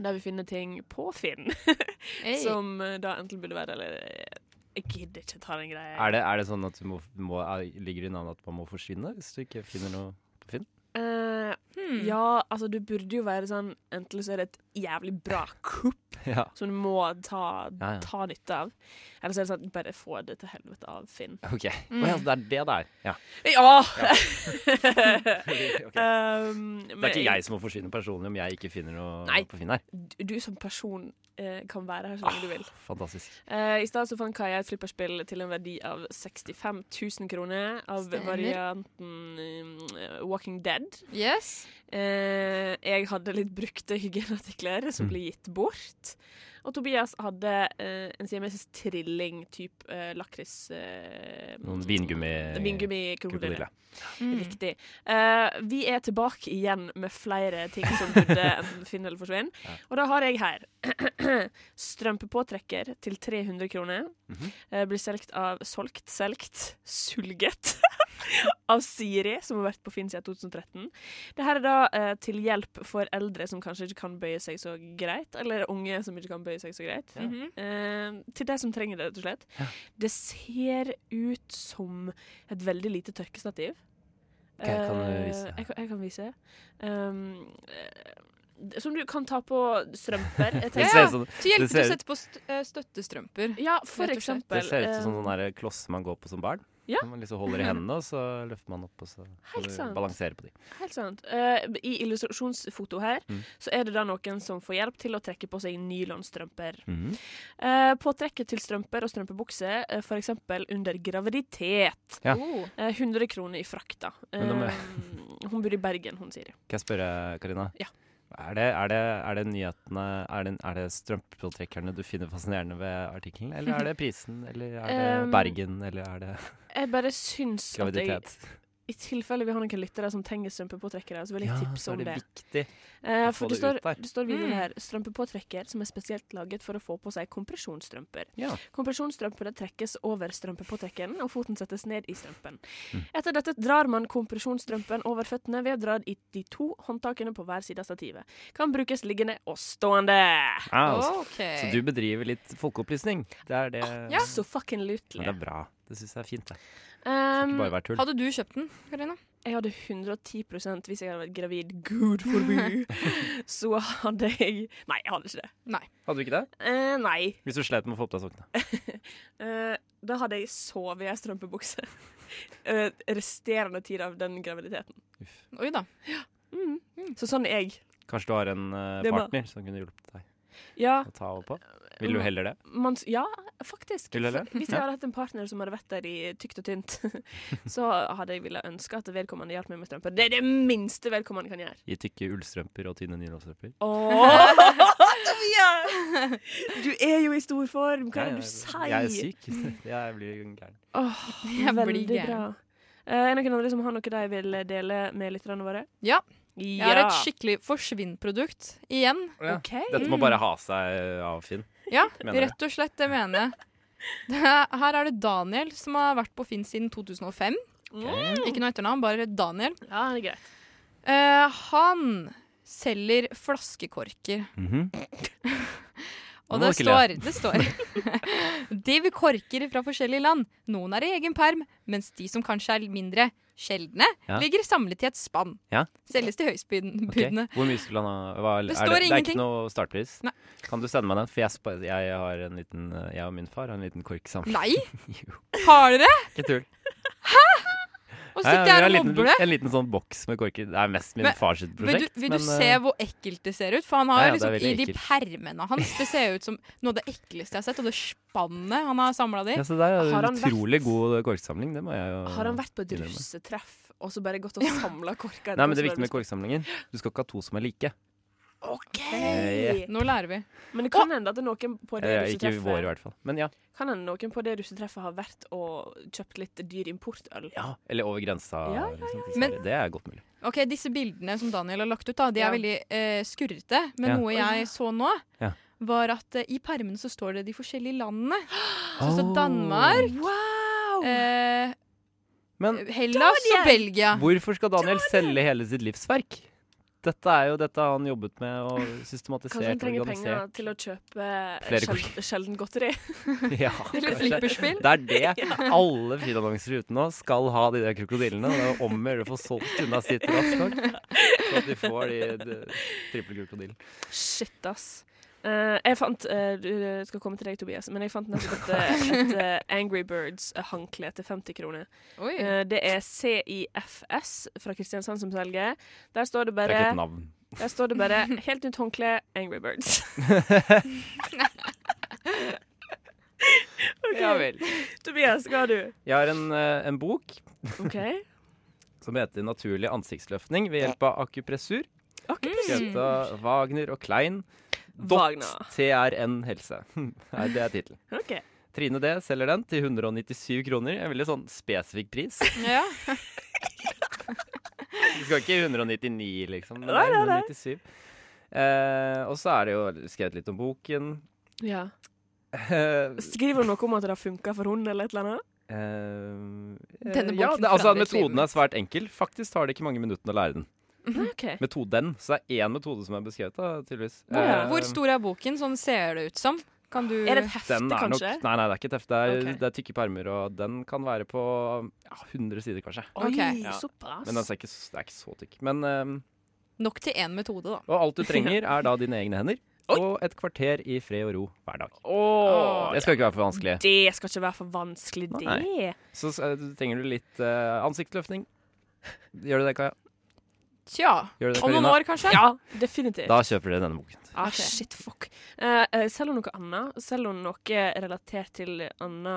der vi finner ting på Finn som eh, da enten burde være eller eh, Jeg gidder ikke ta den greia.
Er det, er det sånn at du må, må er, Ligger det i navnet at man må forsvinne hvis du ikke finner noe?
Eh,
Hmm.
ja, altså, du burde jo være sånn Enten så er det et jævlig bra kupp
Ja.
som du må ta,
Ja, ja.
ta nytte av, eller så er det sånn bare få det til helvete av Finn. Eh,
OK.
Mm.
Å ja, det er det det er. Ja.
Ja!
Ok.
Um,
Det er ikke jeg som må forsvinne personlig om jeg ikke finner noe
Nei.
på Finn her.
Du som person eh, kan være her så
Ah.
lenge du vil.
Fantastisk.
Eh, I stad så fant Kaja et flipperspill til en verdi av 65 000 kroner av
Stemmer.
varianten eh, Walking Dead.
Yes.
Eh, jeg hadde litt brukte hygieneartikler
Mm.
som ble gitt bort. Og Tobias hadde eh, en siamesisk trilling type eh, lakris... Eh,
Noen vingummi...
Vingummikrokodille.
krokodille.
Mm.
Riktig. Eh, vi er tilbake igjen med flere ting som burde enten finne eller forsvinne.
Ja.
Og da har jeg her strømpepåtrekker til 300 kroner.
Mhm.
Eh, blir solgt av Solgt, solgt, sulget. Av Siri, som har vært på Finn siden 2013. Det her er da eh, til hjelp for eldre som kanskje ikke kan bøye seg så greit, eller unge som ikke kan bøye seg så greit.
Mhm.
Eh, til de som trenger det, rett og slett.
Ja.
Det ser ut som et veldig lite tørkestativ.
Ok, kan du
Eh,
vise?
Jeg, kan- jeg kan vise. Um, eh, som du kan ta på strømper. Jeg
Det
tenker-
ser ut som
Så hjelper
Det
det å
ser-
sette på st eh, støttestrømper.
ja, for
Rett og slett.
eksempel.
det ser ut
eh,
som sånn der kloss man går på som barn.
Ja.
Som Man liksom holder i hendene, og så løfter man opp og så
Helt sant.
balanserer på de.
Helt sant. Eh, I illustrasjonsfoto her
Mm.
så er det da noen som får hjelp til å trekke på seg nylonstrømper.
Mhm.
Eh, på trekket til strømper og strømpebukse, eh, for eksempel under graviditet.
Ja.
Oh.
Eh, 100 kroner i frakta.
Men da må jeg-
Eh, hun bor i Bergen, hun sier.
Kan jeg spørre, Karina?
Ja.
Er det, er, det, er det nyhetene Er det, er det strømpepåtrekkerne du finner fascinerende ved artikkelen, eller er det prisen, eller er det
Um,
Bergen, eller er det
Jeg bare syns at jeg
graviditet?
I tilfelle vi har noen lyttere som trenger strømpepåtrekkere, så vil jeg tipse
så
om
er det
det.
viktig.
Eh,
få
for det
det ut
står,
der.
det står videre
Mm.
her strømpepåtrekker som er spesielt laget for å få på seg kompresjonsstrømper.
Ja.
Kompresjonsstrømpene trekkes over strømpepåtrekken, og foten settes ned i strømpen.
Mm.
Etter dette drar man kompresjonsstrømpen over føttene ved å dra i de to håndtakene på hver side av stativet. Kan brukes liggende og stående.
Ah, så,
OK.
så du bedriver litt folkeopplysning? Det er det
Ja.
Så fucking
Men det
lutelig.
er bra. Det syns jeg er fint, det. Skal
Um,
ikke bare være tull.
Hadde du kjøpt den, Karina?
jeg hadde 110 hvis jeg hadde vært gravid, gud forby, så hadde jeg Nei, jeg hadde ikke det.
Hadde du ikke det?
Eh, nei.
Hvis du slet med å få på deg sokkene.
Eh, da hadde jeg sovet i ei strømpebukse Eh, resterende tid av den graviditeten.
Uff.
Oi da.
Mm. Så sånn er jeg.
Kanskje du har en eh,
Det er bra.
partner som kunne hjulpet deg
Ja,
å ta over på? Vil du heller det?
man, s- ja faktisk.
Vil du det?
For Hvis jeg hadde hatt en partner som hadde vært der i tykt og tynt, så hadde jeg villet ønske at vedkommende hjalp meg med strømper. Det er det minste vedkommende kan gjøre.
I tykke ullstrømper og tynne nylonstrømper?
Tobias! Du er jo i stor form, hva er det du sier?
Jeg er syk. Jeg blir gæren.
Åh,
Jeg blir
veldig
gæren.
bra. Eh, er det noen andre som har noe de vil dele med lytterne våre?
Ja. Jeg
Ja.
har et skikkelig forsvinnprodukt igjen.
Ok.
Dette må bare ha seg eh, av, Finn.
Ja,
Mener du?
rett og slett, det mener jeg. Det er- Her er det Daniel som har vært på Finn siden 2005. Ikke noe etternavn, bare Daniel.
Ja, det er greit.
Eh, han selger flaskekorker.
Mhm,
Og
Nå må
det
du ikke
står, det står Div korker fra forskjellige land. Noen er i egen perm, mens de som kanskje er mindre, sjeldne,
Ja.
ligger samlet i et spann.
Ja.
Selges til høystbydende.
Ok, Hvor mye skulle han ha? Hva, er det,
Det
er
står
det, det er
ingenting.
ikke noe startpris?
Nei.
Kan du sende meg den? For jeg, spa- jeg, har en liten, eh, jeg og min far har en liten kork sammen.
Nei,
Jo,
har dere?
ikke tull.
Og
Nei,
sitter
vi har
her og
en liten-
mobber det.
En liten sånn boks med korker. Det er mest min
Men-
fars sitt
Vil du,
prosjekt.
vil du
men,
se
eh,
hvor ekkelt det ser ut? For han har
Ja,
jo
ja, det er
liksom i
veldig
de
ekkelt.
permene hans Det ser ut som noe av det ekleste jeg har sett, og det spannet han har samla det i.
ja, så der er det
Har
en
han vært-
utrolig god korksamling. Det må jeg jo
Har han vært på et
innrømme.
russetreff og så bare gått og samla korker?
Nei, men det er viktig med korksamlinger. Du skal ikke ha to som er like.
OK!
Nei.
Nå lærer vi.
sånn, Men det kan hende at noen på det
Eh, ikke vår,
russetreffet
i hvert fall. Men ja.
Kan hende noen på det russetreffet har vært og kjøpt litt dyr importøl.
ja. Eller over grensa.
Ja, ja,
liksom, til
Men-
Sverige. det er godt mulig.
Ok, Disse bildene som Daniel har lagt ut, da, de er
Ja.
veldig eh, skurrete. Men
Ja.
noe jeg så nå,
Ja.
var at eh, i permene så står det de forskjellige landene. Så står Danmark,
Wow!
eh,
Men
Hellas og Belgia.
Hvorfor skal Daniel selge hele sitt livsverk? Dette er jo dette har han jobbet med og systematisert
Kanskje han
og
trenger penger
organisert.
til å kjøpe
Flere
sjel sjelden godteri.
Ja,
Eller
kanskje.
flipperspill.
Det er det. Alle filannonser ute nå skal ha de der krokodillene. og Det er om å gjøre å få solgt unna sitt raskt nok. Så at de får de, de triple krokodillen.
Shit, ass. Eh, jeg fant eh, Du jeg skal komme til deg, Tobias, men jeg fant nettopp et, eh, et eh, Angry Birds-håndkle til 50 kroner.
Oi.
Eh, det er CIFS fra Kristiansand som selger. Der står det
Det
bare,
er ikke et navn.
der står det bare 'Helt nytt håndkle, Angry Birds'. Ok.
Ja vel.
Tobias, hva har du?
Jeg har en, eh, en bok
OK.
som heter 'Naturlig ansiktsløftning ved hjelp av akupressur'.
Akkurat.
Skrevet av Wagner og Klein. Dot
Wagner.
TRN helse. Nei, det er tittelen.
Ok.
Trine D selger den til 197 kroner. En veldig sånn spesifikk pris.
Ja.
Du skal ikke 199, liksom. Men det
Nei,
er
nei, nei.
197. Eh, og så er det jo skrevet litt om boken.
Ja.
Eh,
Skriver hun noe om at det har funka for hun eller et eller annet?
eh,
Denne
ja,
boken
det, altså,
forandret livet
metoden
mitt.
er svært enkel. Faktisk tar det ikke mange minuttene å lære den.
OK.
Metoden. Så det er én metode som er beskrevet, da, tydeligvis.
Ja.
Eh,
Hvor stor er boken? Sånn ser det ut som. Kan du
Er det et hefte,
den er nok,
kanskje?
nei, nei, det er ikke et hefte. Det er,
Ok.
det er tykke permer, og den kan være på ja, 100 sider, kanskje.
Ok.
Oi,
Ja.
såpass.
Men den er ikke, s- det er ikke så tykk. Men eh,
nok til én metode, da?
Og alt du trenger er da dine egne hender og et kvarter i fred og ro hver dag.
Åh,
det skal ikke være for vanskelig.
Det skal ikke være for vanskelig, det.
Nei. Så eh, trenger du litt eh, ansiktsløftning. Gjør du det, Kaja?
Tja.
Gjør du det,
Om noen
Karina?
år, kanskje?
Ja, definitivt.
Da kjøper dere denne boken.
Ah,
Ok.
Shit, fuck. Eh, eh, selger hun noe annet? Selger hun noe relatert til annen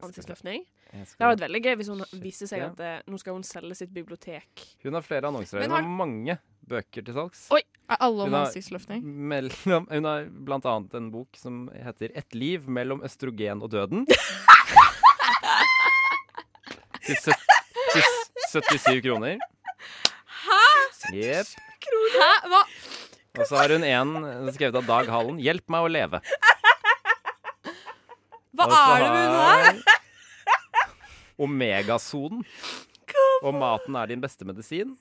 ansiktsløftning? Det hadde vært veldig gøy hvis hun viste seg
Ja.
at eh, nå skal hun selge sitt bibliotek.
Hun har flere annonser.
Men
Hun har mange bøker til salgs.
Oi.
Er alle om
Hun har-
ansiktsløftning?
Mellom, hun har blant annet en bok som heter 'Et liv mellom østrogen og døden'. til, sø til s- 77 kroner. Hæ? Jepp.
Hæ? Hva?
Og så har hun en skrevet av Dag Hallen. 'Hjelp meg å leve'.
Hva er det med hun her?
Omegasonen. Og maten er din beste medisin.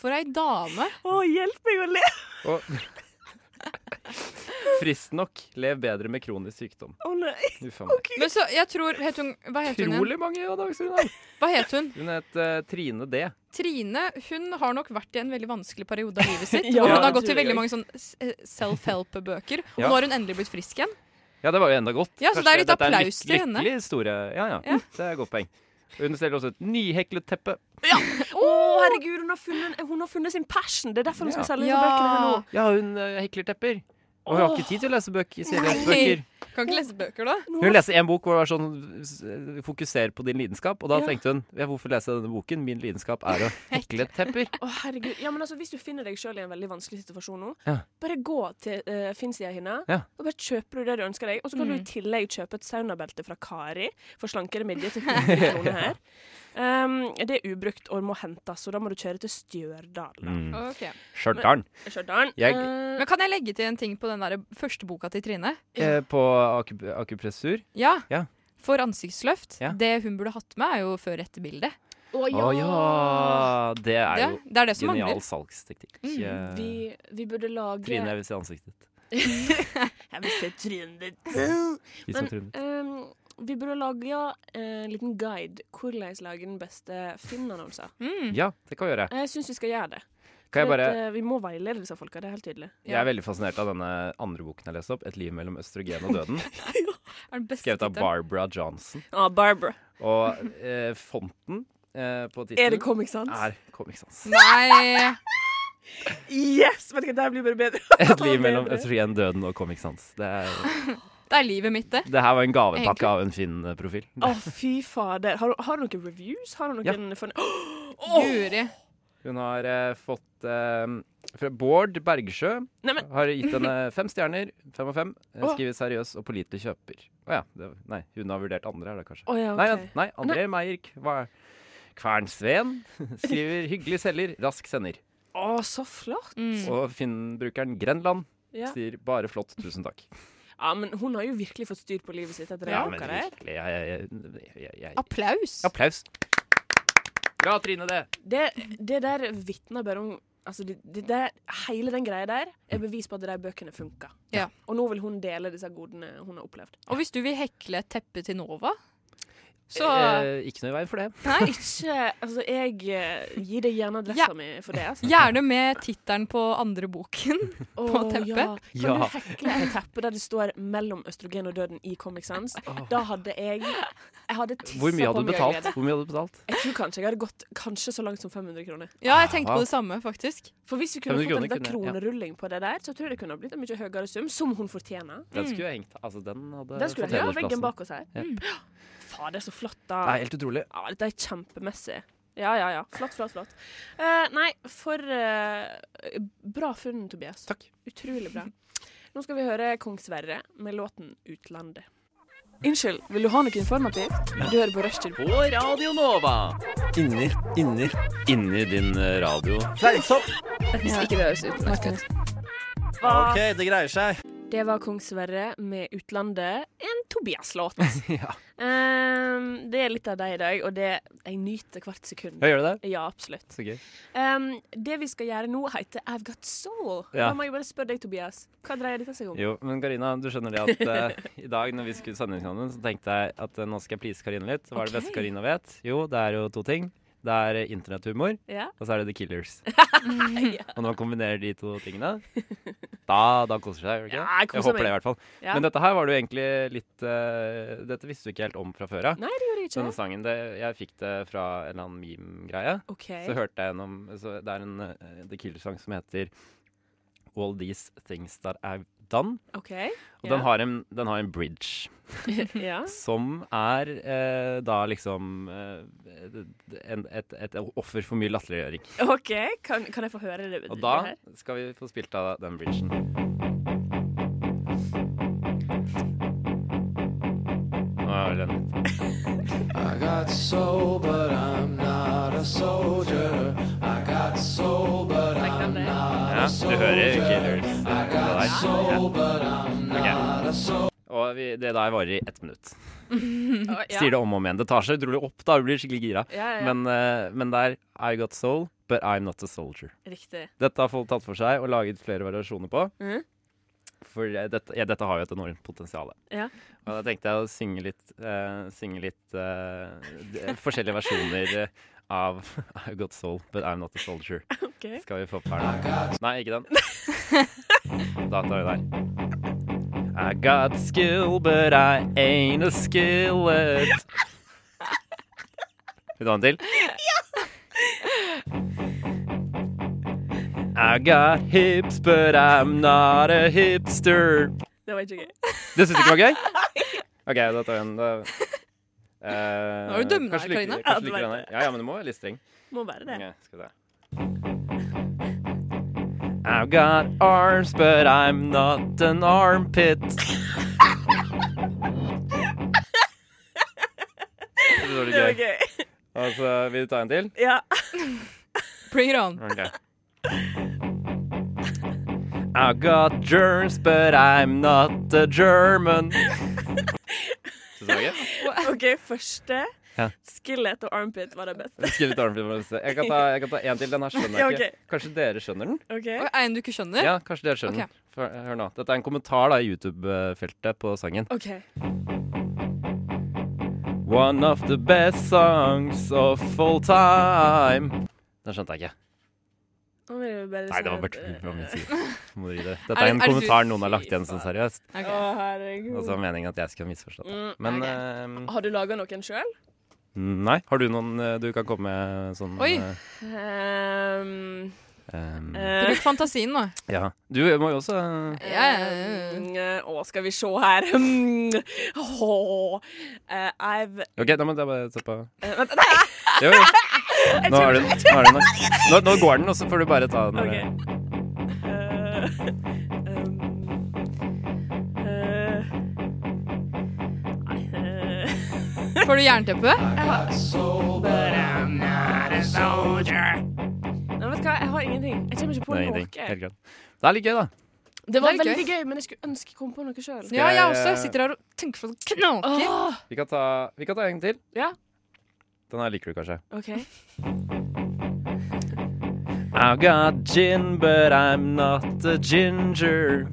For ei dame.
Å, hjelp meg å le!
Og frist nok, lev bedre med kronisk sykdom.
Å nei.
Uff a meg.
Men så, jeg tror het hun, Hva het hun igjen?
Utrolig mange av Dagsrevyen her.
Hva het hun?
Hun het eh, Trine D.
Trine hun har nok vært i en veldig vanskelig periode av livet sitt.
Ja,
og hun har
det
gått til
tror jeg
veldig mange sånn s- eh, self-help-bøker. Og
Ja.
nå har hun endelig blitt frisk igjen.
Ja, det var jo enda godt.
Ja, så det er litt
dette en
applaus til henne.
Lykkelig historie. Ja, ja, Det er et godt poeng. Hun selger også et nyheklet teppe.
Å, herregud, hun har, funnet, hun har funnet sin passion! Det er derfor hun skal
Ja.
selge ja. bøkene her nå.
Ja, hun eh, hekler tepper. Og hun har ikke tid til å lese bøker. seriøse bøker.
Kan ikke lese bøker, da.
Hun leste en bok hvor det var sånn s- Fokuser på din lidenskap. Og da
Ja.
tenkte hun ja, hvorfor lese denne boken? Min lidenskap er å hekle tepper.
Å, herregud. Ja, men altså, Hvis du finner deg sjøl i en veldig vanskelig situasjon nå,
Ja.
bare gå til uh, Finnsida-hinna,
Ja.
og bare kjøper du det du ønsker deg. Og så kan du i tillegg kjøpe et saunabelte fra Kari for slankere midje til 100 kroner her. Um, det er ubrukt og må hentes, så da må du kjøre til Stjørdal. da.
Stjørdal.
Stjørdal.
Mm. Jeg-
Eh,
Men kan jeg legge til en ting på den der første boka til Trine?
Eh, På akup akupressur.
Ja.
Ja.
For ansiktsløft.
Ja.
Det hun burde hatt med, er jo før etter bildet.
Å ja. Det er
Det,
jo
det er det som
genial
mangler. Mm,
salgsteknikk. Eh,
vi, vi burde lage
Trine, jeg vil se ansiktet ditt.
Jeg vil se trynet ditt.
Vis
Men
meg trynet ditt.
um, Vi burde lage en liten guide hvordan lage den beste Finn-annonser.
Mm.
Ja, det kan vi gjøre.
Jeg syns vi skal gjøre det.
Kan jeg
For at,
bare
eh, vi må veilede disse folka, det er helt tydelig.
Jeg er veldig fascinert av denne andre boken jeg leste opp, 'Et liv mellom østrogen og døden',
Er den beste
skrevet av
tittelen.
Barbara Johnson.
Ah, Barbara.
Og eh, fonten eh, på
Er det
tittelen
Comic Sans?
er Comic Sans.
Nei!
Yes! Vet du hva, det her blir bare bedre.
Et liv mellom østrogen, døden og Comic Sans. Det, er,
Det er livet mitt, det.
det her var en gavepakke av en fin eh, profil.
Å, fy fader. Har, du- har du noen reviews? Har du
Ja.
noen forn-
Guri.
Hun har eh, fått eh, fra Bård Bergsjø
Nei, men-
har gitt henne fem stjerner. Fem av fem. Eh,
Åh.
Skriver 'seriøs og pålitelig kjøper'. Å ja. Det, nei, hun har vurdert andre her, da, kanskje.
Å ja,
Nei,
OK.
an- nei, André Meyer Kva- Kvernsveen skriver 'hyggelig selger, rask sender'.
Å, så flott.
Mm.
Og Finn-brukeren Grenland
Ja.
sier 'bare flott, tusen takk'.
ja, men hun har jo virkelig fått styr på livet sitt etter
Ja,
den boka der.
virkelig, jeg, jeg, jeg, jeg
Applaus.
Applaus. Bra, Trine, det.
Det, det der vitner bare om Altså, det, det der, hele den greia der er bevis på at de der bøkene funker.
Ja.
Og nå vil hun dele disse godene hun har opplevd.
Og hvis du vil hekle et teppe til Nova, så
Eh, ikke noe i veien for det.
Nei.
Ikke Altså, jeg eh, gir deg gjerne adressa
Ja.
mi for det. Altså.
Gjerne med tittelen på andre boken.
Åh,
teppet?
Ja. Kan
Ja.
du hekle et teppe der det står 'mellom østrogen og døden' i Comic Sans? Da hadde jeg Jeg hadde tissa
Hvor
på
mye hadde du
meg av
betalt?
glede.
Hvor mye hadde du betalt?
Jeg tror kanskje jeg hadde gått kanskje så langt som 500 kroner.
Ja, jeg tenkte på det samme, faktisk.
For hvis vi kunne fått en liten
500 kroner kunne- ja.
kronerulling på det der, så tror jeg det kunne ha blitt en mye høyere sum, som hun fortjener.
Den skulle jeg hengt Altså, den hadde
Mm. Den skulle
fått
jeg ha
hedersplassen.
veggen bak oss her.
Ja.
Mm. Faen, det er så flott, da.
Nei, helt utrolig.
Ja, dette er kjempemessig. Ja, ja, ja. Flott, flott, flott. Eh, nei, for eh, bra funn, Tobias.
Takk.
Utrolig bra. Nå skal vi høre Kong Sverre med låten 'Utlandet'. Unnskyld, vil du ha noe informativt? Du hører på Rushtid.
På Radio Nova. Inni, inni, inni din eh, radio. Fleisopp.
Hvis ikke det høres ut.
OK, det greier seg.
Det var Kong Sverre med 'Utlandet', en Tobias-låt.
ja.
Eh, det er litt av deg i dag, og det, jeg nyter hvert sekund.
Gjør det det?
Ja, absolutt.
Så gøy.
Um, det vi skal gjøre nå, heter I've Got Soul.
Ja.
Da må jeg bare spørre deg, Tobias. Hva dreier dette seg om?
Jo, men Karina, du skjønner det at eh, i dag når vi skulle sende inn kanalen, så tenkte jeg at eh, nå skal jeg please Karina litt. Hva er det beste
Ok.
Karina vet? Jo, det er jo to ting. Det er eh, internetthumor,
Ja.
og så er det The Killers. Og når man kombinerer de to tingene, da, da koser seg, gjør det ikke?
Ja, jeg koser
håper
meg.
det i hvert fall.
Ja.
Men dette her var det jo egentlig litt eh, Dette visste du ikke helt om fra før av.
Nei, det gjorde jeg
Denne
ikke.
sangen, det, jeg fikk det fra en eller annen meme-greie.
OK.
Så hørte jeg gjennom så Det er en eh, The Killers-sang som heter All These Things That I've Done.
ok.
Og
Ja.
den, har en, den har en bridge
Ja.
som er eh, da liksom eh, en, et, et offer for mye latterliggjøring.
OK, kan, kan jeg få høre det?
Og
det
da
her?
skal vi få spilt av den bridgen. Nå er den
I got soul, but I'm not a soldier. I got soul, but I'm not
Ja, du hører Killers eh, på deg. Ja. Ok. Og vi, det der varer i ett minutt.
Å, ja.
Sier det om og om igjen. Det tar seg utrolig opp, da. Du blir skikkelig gira.
Ja, ja, ja.
Men, eh, men der I got soul, but I'm not a soldier.
Riktig.
Dette har folk tatt for seg og laget flere variasjoner på.
Mhm.
For eh, dette, ja, dette har jo et enormt potensial.
Ja.
Og da tenkte jeg å synge litt, eh, synge litt eh, d- forskjellige versjoner eh, av I Got Soul, But I'm Not A Soldier.
Ok.
Skal vi få opp her nå? Nei, ikke den. Da tar vi der. I got skill, but I ain't a skillet. Vil du ha en til? I got hips, but I'm not a hipster.
Det var ikke gøy.
Det syns du ikke var gøy? OK, da tar vi en da. Eh,
Nå er du dømmende
kanskje
her,
liker-
Karina.
Kanskje
Ja,
liker
det
den
var
her. Ja, ja, men du må være litt streng.
Må være det.
Ok, skal vi se. I've got arms, but I'm not an armpit. Det var
Det var
litt gøy.
gøy.
Altså, vil du ta en til?
Ja.
Bring it on.
Okay. I got germs, but I'm not a German. Syns du det var gøy?
OK, første.
Ja.
Skillett og armpit var det beste.
Skriv litt armfilm. Jeg kan ta- jeg kan ta en til. Den her skjønner jeg
Ja,
ikke.
ok.
Kanskje dere skjønner den?
OK.
Oi, er en du ikke skjønner?
Ja, kanskje dere skjønner.
Ok.
Hør- Hør nå. Dette er en kommentar da i YouTube-feltet på sangen.
OK.
One of the best songs of all time. Den skjønte jeg ikke.
Nå blir det bare
Nei, det var
sånn
bare
at, eh,
tull fra min side. Må gi det. Dette
Er
er en
det- er det du-
kommentar noen har lagt igjen som seriøst.
Ok.
Å, herregud.
Og så var meningen at jeg skulle ha misforstått det.
Mm,
Men
ok.
eh,
Har du laga noen sjøl?
nei. Har du noen eh, du kan komme med sånn
Oi.
eh,
Um,
ehm,
eh,
Bruk fantasien nå.
Ja. Du må jo også eh,
Ja, ja, ja.
um, eh, Å, skal vi se her Hmm. Åh. Eh, I've
OK, da må jeg bare se på
eh, Vent, nei!
Jo, jo. Nå er den nå. Er den der. nå, nå går den, og så får du bare ta den. eh.
OK. Eh, um, eh, nei, eh,
Får du jernteppe?
Nei, vet du hva, jeg har ingenting. Jeg kommer ikke på
Nei,
noe.
ingenting. Helt greit. Det er litt gøy, da.
Det var
Det er litt
veldig gøy, men jeg skulle ønske jeg kom på noe sjøl.
Ja, jeg
jeg,
også.
eh,
Sitter her og tenker på det knaker.
Vi kan ta, vi kan ta en til.
Ja.
Den her liker du kanskje.
OK.
I got gin, but I'm not a ginger.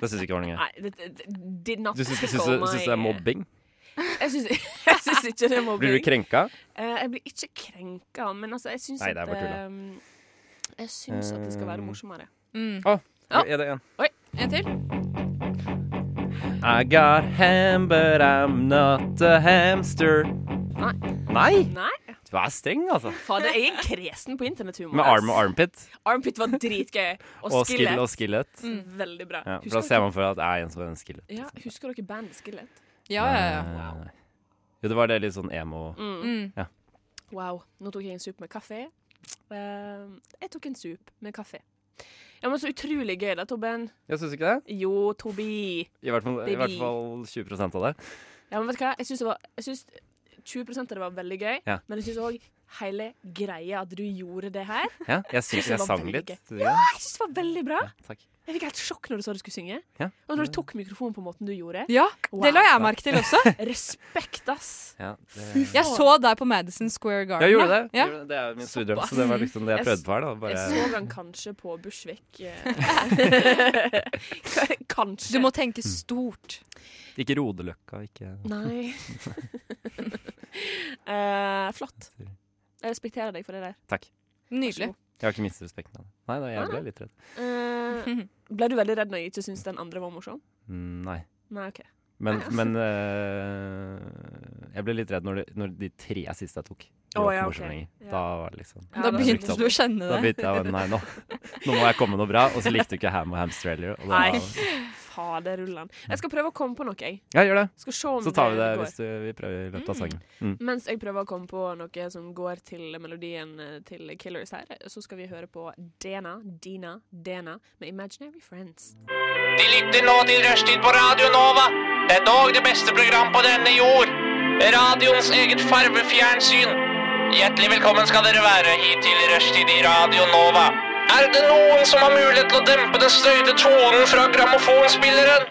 Det syns ikke var noe gøy.
Nei, det, det, det did not
Du syns,
tickle
syns, det-
my-
syns det er mobbing?
Jeg syns, jeg syns ikke det er mobbing.
Blir du krenka?
Eh, jeg blir ikke krenka, men altså, jeg syns
Nei, det
at
er bare tull, da.
ehm, Jeg syns at det skal være
Um,
morsommere.
Mm.
Ja.
Er det en?
En til.
I got ham, but I'm not a hamster.
Nei.
Nei?
Nei,
Du er streng, altså.
fader, jeg er kresen på internetthumor.
Med
ass.
arm og armpit.
Armpit var dritgøy. Og,
Og skill og
skillet. Mm,
skillet.
Veldig bra.
Ja, for da
husker,
ser
dere,
man for at det er en liksom. som er en skillet.
ja, husker dere bandet Skillet?
Ja, ja, ja.
Eh, Jo, det var det litt sånn emo
Mm.
Wow. Nå tok jeg en sup med kaffe. Ehm, jeg tok en sup med kaffe. Ja, men Så utrolig gøy da, Tobben.
Jeg syns ikke det.
Jo, Tobi.
I hvert fall, i
Baby.
hvert fall 20 av det.
Ja, men vet du hva? Jeg syns det var jeg synes 20 av det var veldig gøy,
Ja.
men jeg syns òg hele greia at du gjorde det her
Ja, jeg syns
Det
jeg
var
sang
veldig
litt.
gøy.
Synes du ikke det?
Jeg syns det var veldig bra.
Takk.
Jeg fikk helt sjokk når du sa du skulle synge.
Ja.
Og når du tok mikrofonen på måten du gjorde.
Ja, det la
Wow.
jeg merke til også.
Respekt, ass!
Ja, det...
Jeg så deg på Madison Square Garden.
Jeg gjorde
da.
det.
Ja.
Gjorde det. Det er jo min studiedrøm, så det var liksom det jeg
Jeg
prøvde på her. da
Jeg
Bare...
så han kanskje på Bushwick. eh. kanskje.
Du må
Mm.
tenke stort.
Ikke Rodeløkka, ikke
Nei. Eh, flott. Jeg respekterer deg for det der.
Takk.
Nydelig.
Jeg har ikke mistet respekten av det. Nei da, jeg ble litt redd.
Eh, ble du veldig redd når jeg ikke syntes den andre var morsom?
Mm, Nei.
Nei, OK.
Men, men eh, jeg ble litt redd når de, når de tre siste jeg tok. De
Å,
var
ja,
ikke morsomme
ok.
lenger.
Ja.
Da var det liksom
Ja,
Da
da
begynte
brukte
du å kjenne
Da
det.
begynte jeg bare, Nei, nå, nå må jeg komme med noe bra. Og så likte du ikke Ham og Hamster heller. og da-
Nei. Faderullan. Jeg skal prøve å komme på noe, jeg.
Ja, gjør det.
Skal se om
Så tar vi det
går.
hvis du, vi prøver i løpet av sangen. Mm.
Mens jeg prøver å komme på noe som går til melodien eh, til Killers her, så skal vi høre på Dena, Dina, Dena med Imaginary Friends.
De lytter nå til Rushtid på Radio Nova. Det er dog det beste program på denne jord. Radioens eget farvefjernsyn. Hjertelig velkommen skal dere være hit til Rushtid i Radio Nova. Er det noen som har mulighet til å dempe den støyte tonen fra grammofonspilleren?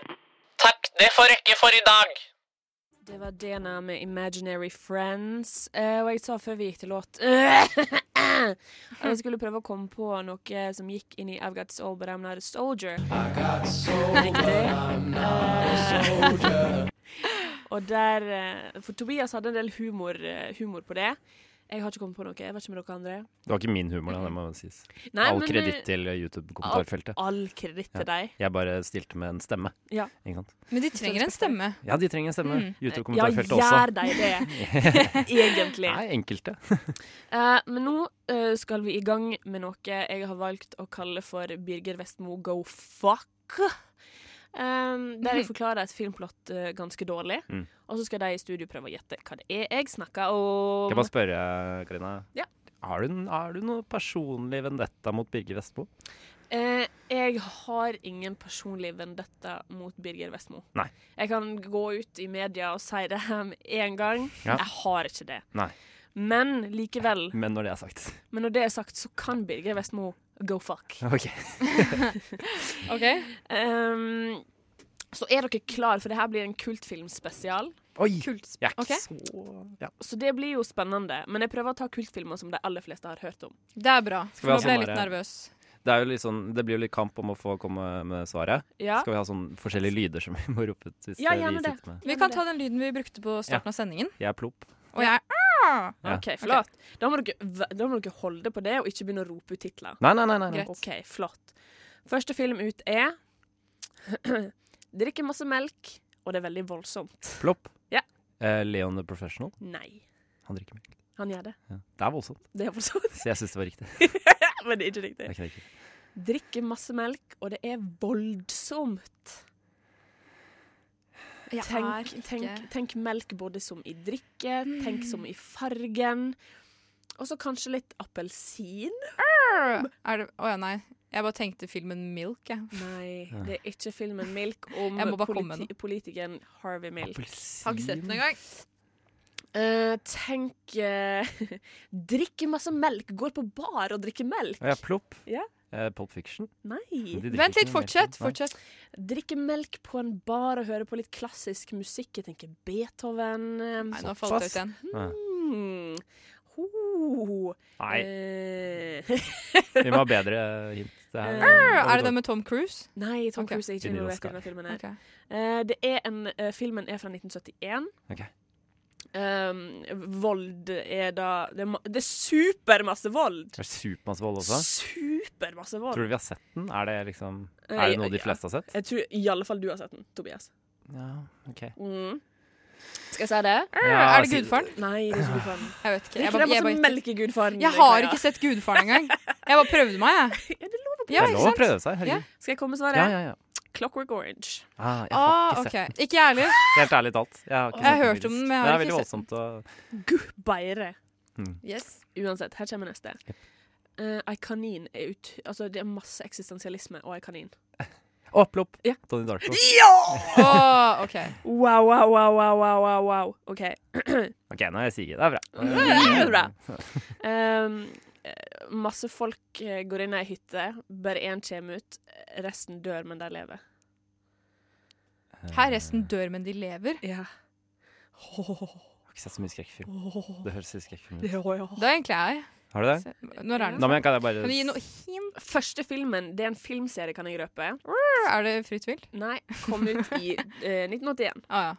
Takk, det får rekke for i dag.
Det var Dena med Imaginary Friends. Eh, og jeg sa før vi gikk til låt At jeg skulle prøve å komme på noe som gikk inn i I've Got Soul But I'm Not A Soldier. Riktig. Eh, og der eh, For Tobias hadde en del humor, eh, humor på det. Jeg har ikke kommet på noe. Jeg vet ikke med dere andre.
Det var ikke min humor, da. det må sies.
Nei,
All
men, eh,
kreditt til YouTube-kommentarfeltet.
All kreditt til deg.
Jeg bare stilte med en stemme.
Ja. Mm.
Ikke sant?
Men de trenger en stemme.
ja, de trenger en stemme.
Ja,
YouTube-kommentarfeltet
gjør
også.
deg det, egentlig.
Nei, enkelte.
Eh, men nå eh, skal vi i gang med noe jeg har valgt å kalle for Birger Vestmo go fuck. Um, der jeg forklarer et filmplott eh, ganske dårlig,
Mm.
og så skal de i studio prøve å gjette hva det er jeg snakker om.
Kan jeg bare spørre, Karina?
Ja.
Har du, har du noe personlig vendetta mot Birger Vestmo?
Eh, jeg har ingen personlig vendetta mot Birger Vestmo.
Nei.
Jeg kan gå ut i media og si det her med en gang.
Ja.
Jeg har ikke det.
Nei.
Men likevel.
Men når det er sagt.
Men når det er sagt, så kan Birger Vestmo go fuck.
Ok.
Ok?
Ehm, så er dere klar, for det her blir en kultfilmspesial.
Oi!
Kult.
Jeg er ikke
Ok.
så ja.
Så det blir jo spennende. Men jeg prøver å ta kultfilmer som de aller fleste har hørt om.
Det er bra.
Skal vi
For
ha
nå ble jeg
sånn
litt
der-
nervøs.
Det, er jo litt sånn, det blir jo litt kamp om å få komme med svaret.
Ja.
Skal vi ha sånn forskjellige lyder som vi må rope ut hvis
Ja,
eh, vi
gjerne det.
sitter med
Vi kan ta den lyden vi brukte på starten av sendingen.
Jeg er plopp.
Og jeg ah!
Ja.
OK, flott. Da, må dere, v- da må dere holde på det, og ikke begynne å rope ut titler.
Nei, nei, nei. nei, nei.
Greit.
OK, flott. Første film ut er Drikker masse melk, og det er veldig voldsomt.
Plopp.
Ja.
Eh, Leon the Professional.
Nei.
Han drikker melk.
Han gjør det.
Ja. Det er voldsomt,
Det er voldsomt,
så jeg syns det var riktig.
men det er ikke riktig.
Ok, det er ikke.
Drikker masse melk, og det er voldsomt.
Jeg er
Tenk,
ikke
tenk, tenk melk både som i drikke, tenk som i fargen. Og så kanskje litt appelsin?
Er det Å ja, nei. Jeg bare tenkte filmen Milk, jeg.
Nei, det er ikke filmen Milk om
Jeg må bare komme med
politi politikeren Harvey Milk.
Har ikke sett den engang.
Eh, tenk eh, Drikke masse melk, går på bar og drikker melk.
Å ja, plopp.
Ja.
Eh, Pulp Fiction.
Nei.
De drikker
Vent
ikke noe melk.
litt, fortsett.
Nei.
fortsett.
Drikke melk på en bar og høre på litt klassisk musikk. Jeg tenker Beethoven.
Nei, nå falt jeg ut igjen.
Mm. Ho.
Nei,
Eh,
vi må ha bedre hint. Det her.
Eh, Er det den med Tom Cruise?
nei, Tom
Ok.
Cruise er ikke
Vinner
involvert i
Oscar.
denne filmen. her.
Ok.
Eh, det er en, eh, filmen er fra 1971.
Ok.
Um, vold er da Det er, ma- det er supermasse vold!
Er det supermasse vold også?
Supermasse vold.
Tror du vi har sett den? Er det liksom
Eh,
Er det noe de
ja.
fleste har sett?
Jeg tror i alle fall du har sett den, Tobias.
Ja, ok
Mm. Skal jeg si det?
Ja,
er det
altså-
Gudfaren?
Nei, det er ikke Gudfaren. Det er
Jeg vet ikke. Jeg,
ikke det
bare, jeg,
masse
bare,
melk i Gudfaren.
jeg har ikke sett Gudfaren engang. Jeg bare prøvde meg, jeg. Ja,
Det er
ikke
lov å
sant?
prøve seg. Herregud.
Skal jeg komme med
Ja,
svaret?
ja, ja.
Clockwork Orange.
Ah, jeg har
Ah,
ikke
ok.
sett den.
Ikke jeg heller.
Helt ærlig talt. Jeg har ikke
Jeg har
sett
hørt om den, men jeg
Det
har
er veldig
ikke sett
voldsomt å
Gubbeire.
Yes.
Uansett, her kommer neste. Eh, ei kanin er ut... Altså, det er masse eksistensialisme og ei kanin.
Å, plopp!
Ja.
Donnie Darko.
Åh, ok.
Wow, wow, wow, wow, wow, wow, wow. OK.
OK, nå er jeg sige. Det er bra. Eh,
Det er bra. Um, eh, masse folk eh, går inn i ei hytte, bare én kommer ut. Resten dør, men de lever.
Her resten dør, men de lever.
Ja.
Jeg har ikke sett så mye skrekkfilm. Det høres litt skrekkfilm ut.
Det er egentlig jeg.
Har du det?
Når er
Da
den?
men kan jeg bare
Kan du gi noe hint?
Første filmen det er en filmserie, kan jeg røpe.
Er det fritt vilt?
Nei, kom ut i eh, 1981.
Å ja.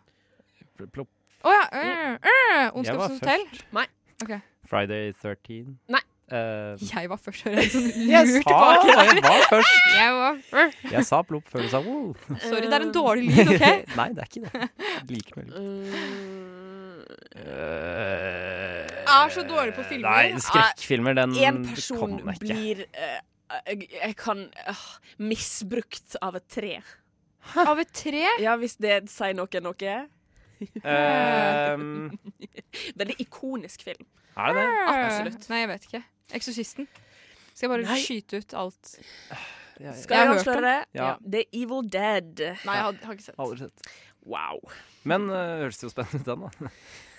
Plopp.
Å ja. øh, øh,
Jeg var
Ondskapens hotell?
først.
Nei.
Ok.
Friday 13.
Nei.
Eh,
Jeg var først. hører Jeg sånn
jeg
lurt
sa
tilbake.
det! Jeg var først.
Jeg var først.
Jeg sa plopp før du sa wow.
Sorry, det er en dårlig lyd, OK?
Nei, det er ikke det. Likevel.
Mm,
Er
så dårlig på filmer.
Nei, skrekkfilmer, den
en person
kan jeg ikke.
blir eh, jeg, jeg kan ah, misbrukt av et tre.
Av et tre?
Ja, hvis det sier noe noe.
Ehm,
Veldig ikonisk film.
er det
Ah.
det?
Absolutt.
Nei, jeg vet ikke. Eksorsisten. Skal jeg bare
Nei.
skyte ut alt?
Jeg
Skal
Jeg
jeg,
har hørt
avsløre det?
Ja.
Det er Evil Dead.
Nei, jeg har, har ikke sett.
har aldri sett.
Wow.
Men eh, høres jo spennende ut, den, da.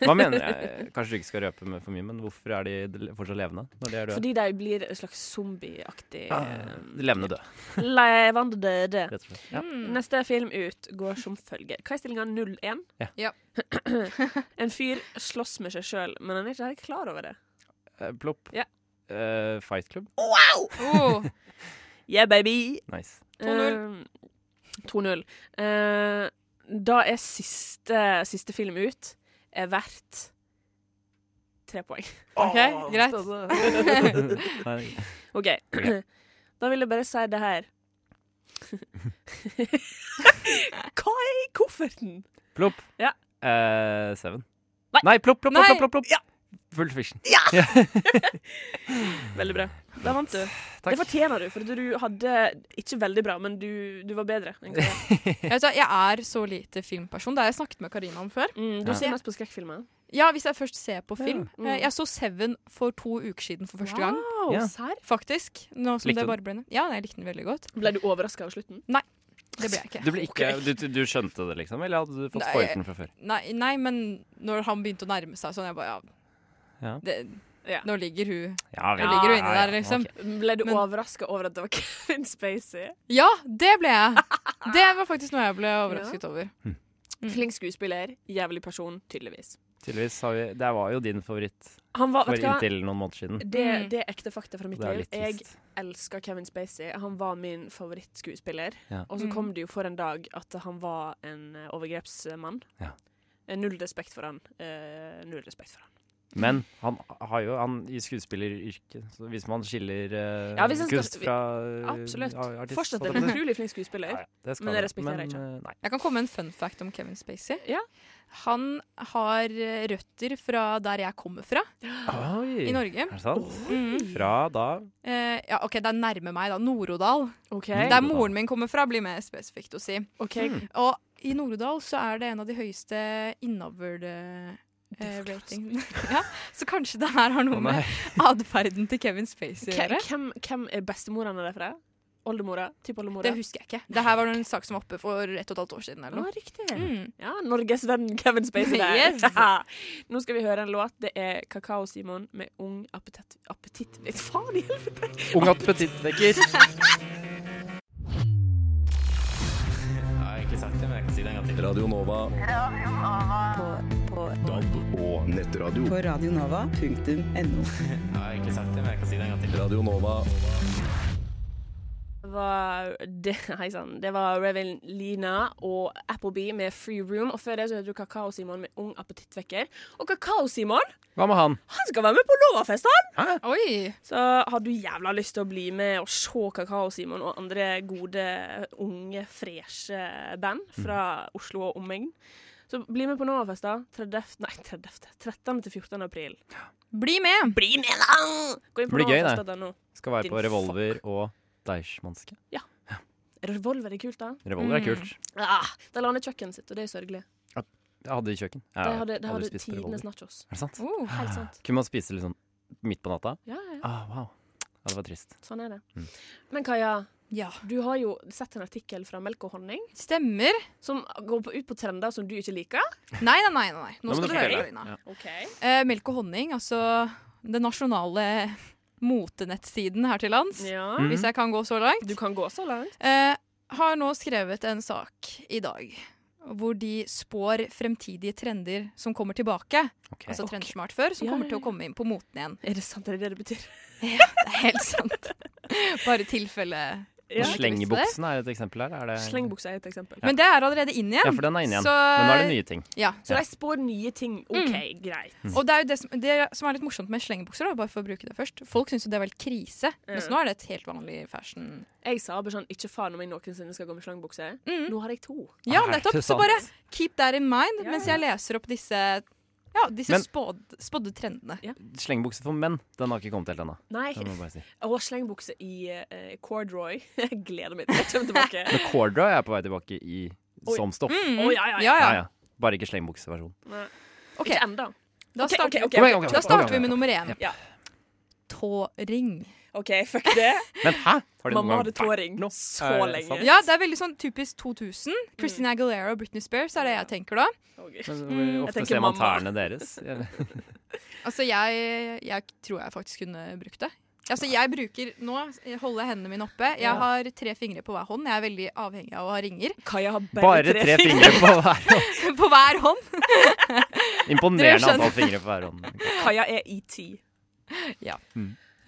Hva mener jeg? Kanskje du ikke skal røpe med for mye, men hvorfor er de del- fortsatt levende? Når de er døde?
Fordi de blir en slags zombieaktig
Ah, de levende døde,
eh, Levende døde.
rett og slett.
Mm.
Ja.
Neste film ut går som følger. Hva er stillinga? 0-1?
Ja.
Ja.
en fyr slåss med seg sjøl, men han er ikke helt klar over det.
Eh, plopp.
Ja.
Eh, Fight Club.
Oh,
Yeah, baby!
Nice.
2-0. 2-0. Eh, da er siste, siste film ut er verdt tre poeng.
Ah.
Altså,
OK, greit.
Nei,
OK. Da vil jeg bare si det her. Hva er i kofferten?
plopp.
Ja.
Eh, seven.
Nei.
Nei, plopp, plopp,
Nei.
plopp, plopp, plopp. Full fiction.
Veldig bra. Da vant du.
Takk.
Det fortjener du, for du hadde ikke veldig bra, men du, du var bedre. enn hva jeg var.
Jeg, vet, hva, jeg er så lite filmperson. Det har jeg snakket med Karina om før.
Mm, du
Ja.
ser mest på skrekkfilmer.
Ja, Hvis jeg først ser på film.
Mm.
Eh, Jeg så Seven for to uker siden for første gang.
Wow,
Ja.
serr?
Faktisk. Nå som
Likte du
det bare ble nevnt. Ja, nei, jeg likte den veldig godt.
Ble du overraska av slutten?
Det ble jeg ikke.
Du, ble ikke, du, du skjønte det, liksom? Eller hadde du fått
Nei.
spoilt den fra før?
Nei, nei, men når han begynte å nærme seg sånn, jeg bare ja.
Ja.
Det,
Ja.
Nå ligger hun
Ja,
Nå ligger hun inne der, liksom.
Ble du
Men-
overraska over at det var Kevin Spacey?
Ja, det ble jeg! Det var faktisk noe jeg ble overrasket over.
Mm. Flink skuespiller, jævlig person, tydeligvis.
Tydeligvis har vi Det var jo din favoritt
Han var,
for
vet du hva?
inntil noen måneder siden.
Det,
Mm.
det er ekte fakta fra mitt
Det er
liv.
litt
Jeg
trist.
elsker Kevin Spacey. Han var min favorittskuespiller.
Ja.
Og så
Mm.
kom det jo for en dag at han var en eh, overgrepsmann.
Ja.
Eh, Null respekt for han. Eh, null respekt for han.
Men han har jo han i skuespilleryrket, så hvis man skiller eh,
Ja, hvis han skal-
kunst fra eh,
Absolutt.
a- artist
Fortsatt
holdt
en
jeg på å si.
utrolig flink skuespiller.
Ja, ja, det skal
men jeg
han.
respekterer
Men,
ikke
eh, Nei.
Jeg kan komme med en fun fact om Kevin Spacey.
Ja.
Han har eh, røtter fra der jeg kommer fra,
Oi.
i Norge.
Er det sant?
Mm.
Fra da
Eh, ja, OK, det er nærme meg, da. Nord-Odal.
OK.
Mm.
Der moren min kommer fra, blir mer spesifikt å si.
ok.
Og i Nord-Odal så er det en av de høyeste innavl-ratingene. ja, så kanskje det her har noe
Å, nei.
med atferden til Kevin Spacey å
Ke-
gjøre.
Hvem, hvem er bestemora derfra? Oldemora? Tippoldemora?
Det husker jeg ikke. Det her var en sak som var oppe for ett og et halvt år siden. eller
ah,
noe.
riktig.
Mm.
Ja, Norges venn Kevin Spacey der.
Yes.
Nå skal vi høre en låt. Det er Kakao Simon med Ung appetitt... appetitt. Faen i helvete!
Ung appetittvekker.
Radio Nova. DAB og nettradio.
På radionova.no.
Radio Nova.
Det var, det, hei sann. Det var Revelina og Appleby med Free Room. Og før det så hørte du Kakao Simon med Ung appetittvekker. Og Kakao Simon
Hva med han?
han skal være med på Lovafest! han!
Oi!
Så har du jævla lyst til å bli med og se Kakao Simon og andre gode, unge, freshe band
Mhm.
fra Oslo og omegn. Så bli med på Novafest, da. 30, nei, 30, 13. til 14. april.
Bli med!
Bli med, da! Gå inn på
Det blir gøy, det.
novafest.no.
Skal være
Din
på Revolver og Deichmanske.
Revolver er kult, da.
Revolver er
Mm.
kult.
Ah, de la ned kjøkkenet sitt, og det er sørgelig.
Jeg hadde i kjøkken. Jeg
De
har
hadde, de
aldri
hadde
spist på Revolver.
tidenes nachos.
Er det sant?
Oh.
Helt sant.
Kunne man spise liksom midt på natta?
Ja, ja, ja.
Ah, wow. Ja, det var trist.
Sånn er det.
Mm.
Men Kaja,
Ja.
du har jo sett en artikkel fra Melk og honning
Stemmer.
som går på, ut på trender som du ikke liker.
Nei, nei, nei. nei. Nå,
må
skal
du
du høre,
fortelle.
Karina.
Ja.
Ok.
Eh, melk og honning, altså den nasjonale motenettsiden her til lands,
Ja.
Mm.
hvis jeg kan gå så langt,
Du kan gå så langt.
eh, har nå skrevet en sak i dag hvor de spår fremtidige trender som kommer tilbake.
Ok.
Altså
Ok.
trendsmart før, som
Ja,
kommer
ja,
til å
ja.
komme inn på moten igjen.
Er det sant? Er det det det betyr?
Det er helt sant. Bare tilfelle.
Ja.
Slengebuksen er et eksempel her. Er det...
Slengbuksa er et eksempel.
Men det er allerede inn
Eh, Ja,
igjen.
for den er inne igjen.
Så-
Men nå er det nye ting.
Ja.
Så de spår nye ting. OK, greit.
Mm.
Og det er jo det som, det som er litt morsomt med slengebukser, da, bare for å bruke det først. Folk syns jo det er vel krise, mens
Ja.
nå er det et helt vanlig fashion.
Jeg sa bare sånn Ikke faen om jeg noensinne skal gå med slangebukse.
Mm.
Nå har jeg to.
Ja,
Ah, Er det
nettopp. Så
sant?
bare keep that in mind
Ja,
mens
ja.
jeg leser opp disse, ja, disse
Men-
spådd, spådde trendene.
Slengebukse for menn, den har ikke kommet helt ennå.
Nei.
Det må jeg bare si.
Og slengebukse i eh, corduroy. Jeg gleder meg til jeg kommer tilbake. Å,
Men corduroy er på vei tilbake i
Oi. Mm.
som stoff.
ja, ja, ja.
Ja,
Ja,
ja.
ja. Bare ikke slengebukseversjon.
Ok,
Ikke ennå.
Da
Ok, ok,
starter,
ok, ok,
ok, ok.
Da starter
ok,
vi
ok.
med nummer én.
Ja.
Tåring.
OK, fuck det.
Men hæ? Har de noen
Mamma
gang
hadde tåring
Nå
så
er det
lenge.
sant.
Ja, det er veldig sånn typisk 2000.
Mm.
Christina Aguilera og Britney Spears er det jeg tenker da.
Å, Gud.
Men
Mm,
jeg
Ofte
tenker
ser man
mamma.
tærne deres. Eller-
Altså, jeg, jeg tror jeg faktisk kunne brukt det. Altså, jeg bruker, Nå holder jeg hendene mine oppe. Jeg
Ja.
har tre fingre på hver hånd. Jeg er veldig avhengig av å ha ringer
Kaja har bare,
Bare tre fingre på hver hånd.
på hver hånd. Dere
Imponerende
skjønner.
antall fingre på hver hånd.
Kaja er ET.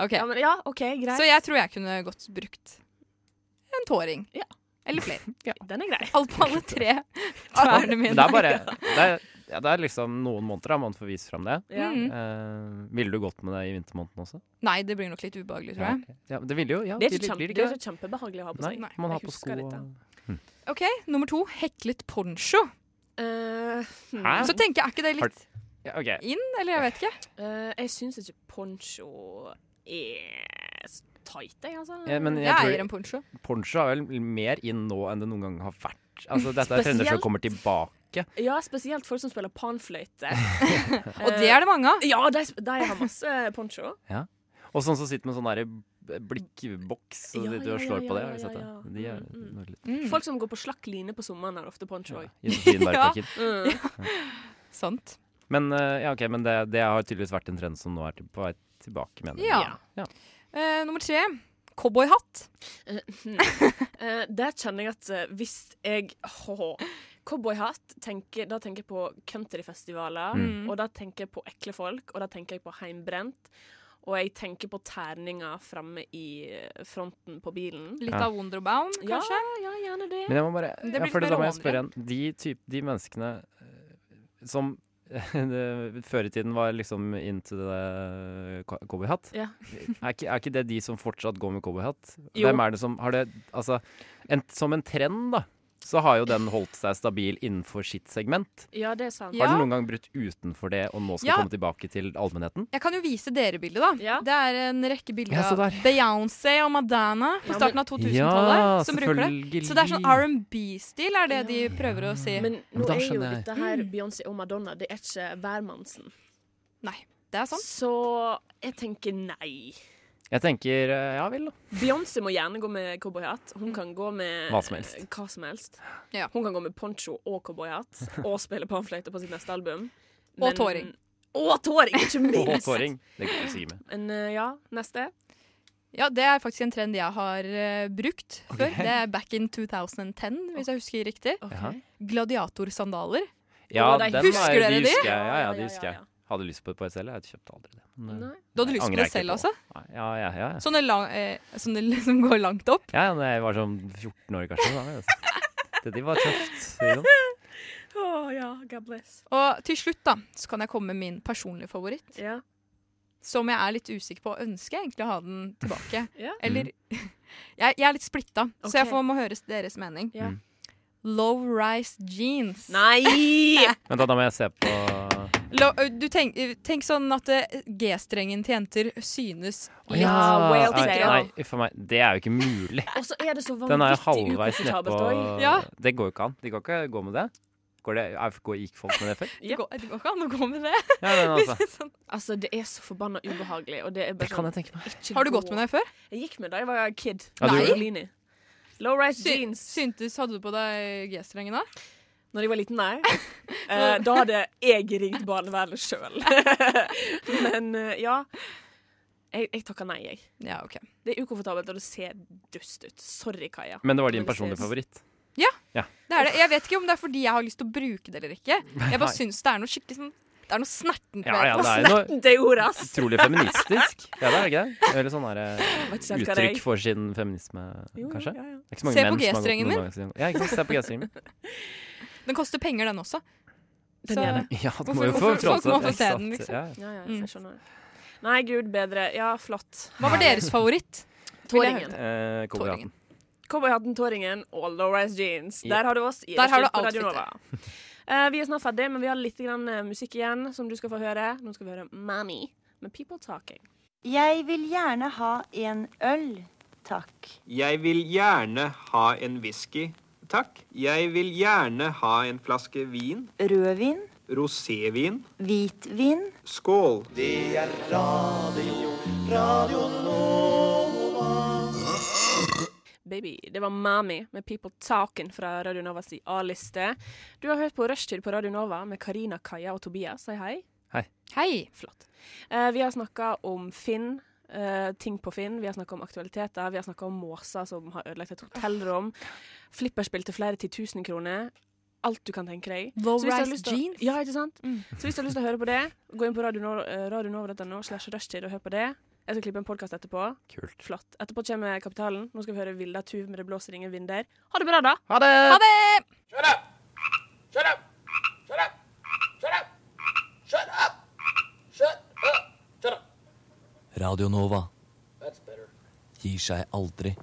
Ok,
Ja, men ja, OK, greit.
Så jeg tror jeg kunne godt brukt en tåring.
Ja.
Eller flere.
Den er grei.
Alt på alle tre tærne mine.
Men det er bare det er, ja, det er liksom noen måneder da man får vist fram det.
Ja.
Mm.
Eh, ville du gått med det i vintermåneden også?
Nei, det blir nok litt ubehagelig, tror
Ja,
jeg.
ok. ja, det ville jo ja,
Det er
blir-
ikke,
blir
kjempe, det
det
er
ikke det?
ikke kjempebehagelig å ha på
Nei,
seg.
man har
jeg
på
husker
sko
dette.
og-
Ok, Nummer to heklet poncho.
Eh, hmm.
Hæ?
Så tenker jeg, er ikke det litt
Ja, ok.
inn, eller jeg vet ikke?
Eh, jeg syns ikke poncho er s- tight, jeg, altså.
Ja, men jeg,
Jeg
tror
eier en poncho.
poncho er vel mer inn nå enn det noen gang har vært. Altså, dette er trender som
Spesielt.
kommer tilbake.
Ja, spesielt folk som spiller panfløyte.
Og det er det mange av.
Ja, de, sp- de har masse poncho.
Og sånn som sitter med sånn derre b- blikkboks og
Ja,
sitter og
ja,
slår
ja,
på det.
ja,
Har du sett
ja,
det?
ja.
De er
Mm, mm.
noe litt
Mm.
Folk som går på slakk line på sommeren, har ofte poncho
ja,
òg.
i sånn Sofienbergparken.
Mm.
Sant.
Men, eh, ja, ok, men det, det har tydeligvis vært en trend som nå er til, på vei tilbake, mener jeg.
Ja. Eh, nummer tre. Cowboyhatt.
Eh, det kjenner jeg at eh, hvis jeg Hå, Cowboyhatt, tenker, da tenker jeg på countryfestivaler.
Mm.
Og da tenker jeg på ekle folk, og da tenker jeg på heimbrent. Og jeg tenker på terninger framme i fronten på bilen.
Litt av Wonderbound,
Ja,
kanskje?
ja, gjerne det.
Men jeg må bare
Det
ja,
blir
for
litt
Da må
mer
jeg spørre igjen. De, typ, de menneskene eh, som det- før i tiden var liksom into the co- eh, cowboyhatt.
Ja.
er, ikke, er ikke det de som fortsatt går med cowboyhatt?
Jo.
Hvem er det som har det Altså, en, som en trend, da, så har jo den holdt seg stabil innenfor sitt segment.
Ja, det er sant.
Har den noen gang brutt utenfor det og nå skal
Ja.
komme tilbake til allmennheten?
Jeg kan jo vise dere bildet, da. Det er en rekke bilder
Ja, se
av
der.
Beyoncé og Madonna på starten av 2000-tallet
Ja,
som bruker det.
selvfølgelig.
Så det er sånn R&B-stil er det de prøver å si.
Men
Men
nå
da
er jo
skjønner jeg.
dette her Beyoncé og Madonna, det er ikke hvermannsen.
Nei, det er sant.
Så jeg tenker nei.
Jeg tenker eh, ja vel, da.
Beyoncé må gjerne gå med cowboyhatt. Hun kan gå med
Hva som helst.
hva som helst. Hun kan gå med poncho og cowboyhatt og spille panfløyte på sitt neste album.
Og tåring.
Og tåring, ikke
Og
minst!
tåring. Det går ikke med.
Men eh, ja, neste.
Ja, det er faktisk en trend jeg har eh, brukt før. Det er back in 2010, hvis jeg husker riktig.
Jaha.
Gladiatorsandaler.
Ja,
Og det er-
den
husker
er,
dere
de
de?
husker jeg. Ja, ja, de husker jeg. Hadde lyst på et par selv. Jeg kjøpte aldri det. men, eh,
Du hadde lyst
angrer
på det
jeg ikke
selv, altså?
Nei, Ja, ja, ja. ja.
Sånne, lang, eh, sånne som går langt opp?
ja, da jeg var sånn 14 år, kanskje. Da. altså. Det de var tøft. Liksom.
Å ja, God bless.
Og til slutt da, så kan jeg komme med min personlige favoritt. Som jeg er litt usikker på. Ønsker jeg egentlig å ha den tilbake?
Ja.
Eller jeg, jeg er litt splitta, så jeg
Ok.
får, må høre deres mening.
Ja.
Low rise jeans.
Nei!
Men da, da må jeg se på
Lo, du tenk, tenk sånn at eh, G-strengen til jenter synes
Å,
litt
ja, nei,
stikkere.
nei, uff a meg. Det er jo ikke mulig.
Og så er det så
Den er jo
vanvittig
halvveis nedpå
ukomfortabelt òg.
Det går jo ikke an. De kan ikke gå med det. Går det er- går- gikk folk med det før?
Det går, det går ikke an å gå med det.
Ja, men altså.
Sånn
Altså, det er så forbanna ubehagelig. Og det, er bare
Det kan
sånn,
jeg tenke meg.
ikke
Har du
gå.
gått med det før?
Jeg gikk med det da jeg var kid.
Ja, du Nei. gjorde det?
Lini. Low rise
Sy-
jeans.
Syntes, hadde du på deg G-strengen da?
Når jeg var liten, nei. Eh, da hadde jeg ringt barnevernet sjøl. Men eh, ja. Jeg, jeg takker nei, jeg. Det er ukomfortabelt, og det ser dust ut. Sorry, Kaja.
Men det var din
Men det
personlige
ser-
favoritt.
Ja.
Ja.
Det er det. Jeg vet ikke om det er fordi jeg har lyst til å bruke det eller ikke. Jeg
Nei.
bare syns det er noe skikkelig sånn Det er noe snertent
Ja, ja,
ved
det er jo noe
Det ordet, ass.
utrolig feministisk. Ja, det er ikke det? Eller sånn her,
Vet ikke
eh,
helt hva det er.
uttrykk for sin feminisme,
Jo,
kanskje.
ja, ja.
Det er ikke så mange
Se
menn
på
som har gått
G-strengen
noen
min.
ganger siden- Ja, ikke sant. Se på G-strengen min.
Den koster penger, den også.
Den
Så-
gjør det.
Ja, du må
Hvorfor-
jo få
hvorfor-
frontet,
Folk må få
ikke
se
sant?
den, liksom.
Ja,
Ja, ja, jeg skjønner. Nei, gud bedre. Ja, flott.
Hva var deres favoritt? Vil jeg høre.
Tåringen.
Eh, Cowboyhatten.
Cowboyhatten, tåringen og low-rise jeans.
Yep.
Der har du oss. i
Der har du
Rushtid på Radio
outfitet.
Nova. Eh, vi er snart ferdig, men vi har litt grann, eh, musikk igjen som du skal få høre. Nå skal vi høre Manny med People Talking.
Jeg vil gjerne ha en øl, takk.
Jeg vil gjerne ha en whisky, takk. Jeg vil gjerne ha en flaske vin.
Rødvin,
Rosévin.
hvitvin.
Skål.
Det er radio,
Radio
Baby, det var Mami med People Talking fra Radio Novas A-liste. Du har hørt på Rushtid på Radio Nova med Karina, Kaja og Tobias. Si hei.
Hei.
Hei.
Flott. Eh, vi har snakka om Finn. eh, ting på Finn. Vi har snakka om aktualiteter. Vi har snakka om måser som har ødelagt et hotellrom. Flipperspill til flere titusen kroner. Alt du kan tenke deg.
Low
Så hvis du har
rise
lyst til å-
jeans. Mm.
Ja, ikke sant? Så hvis du har lyst til å høre på det, gå inn på eh, radionova.no slash rushtid og hør på det. Jeg skal klippe en podkast etterpå.
Kult.
Flott. Etterpå kommer Kapitalen. Nå skal vi høre Vilda Tuv med Det blåser ingen vinder. Ha det bra, da.
Ha det!
Ha det!
Shut up! Shut up! Shut up! Shut up! Shut up! Shut up!
Radio Nova
That's better.
gir seg aldri.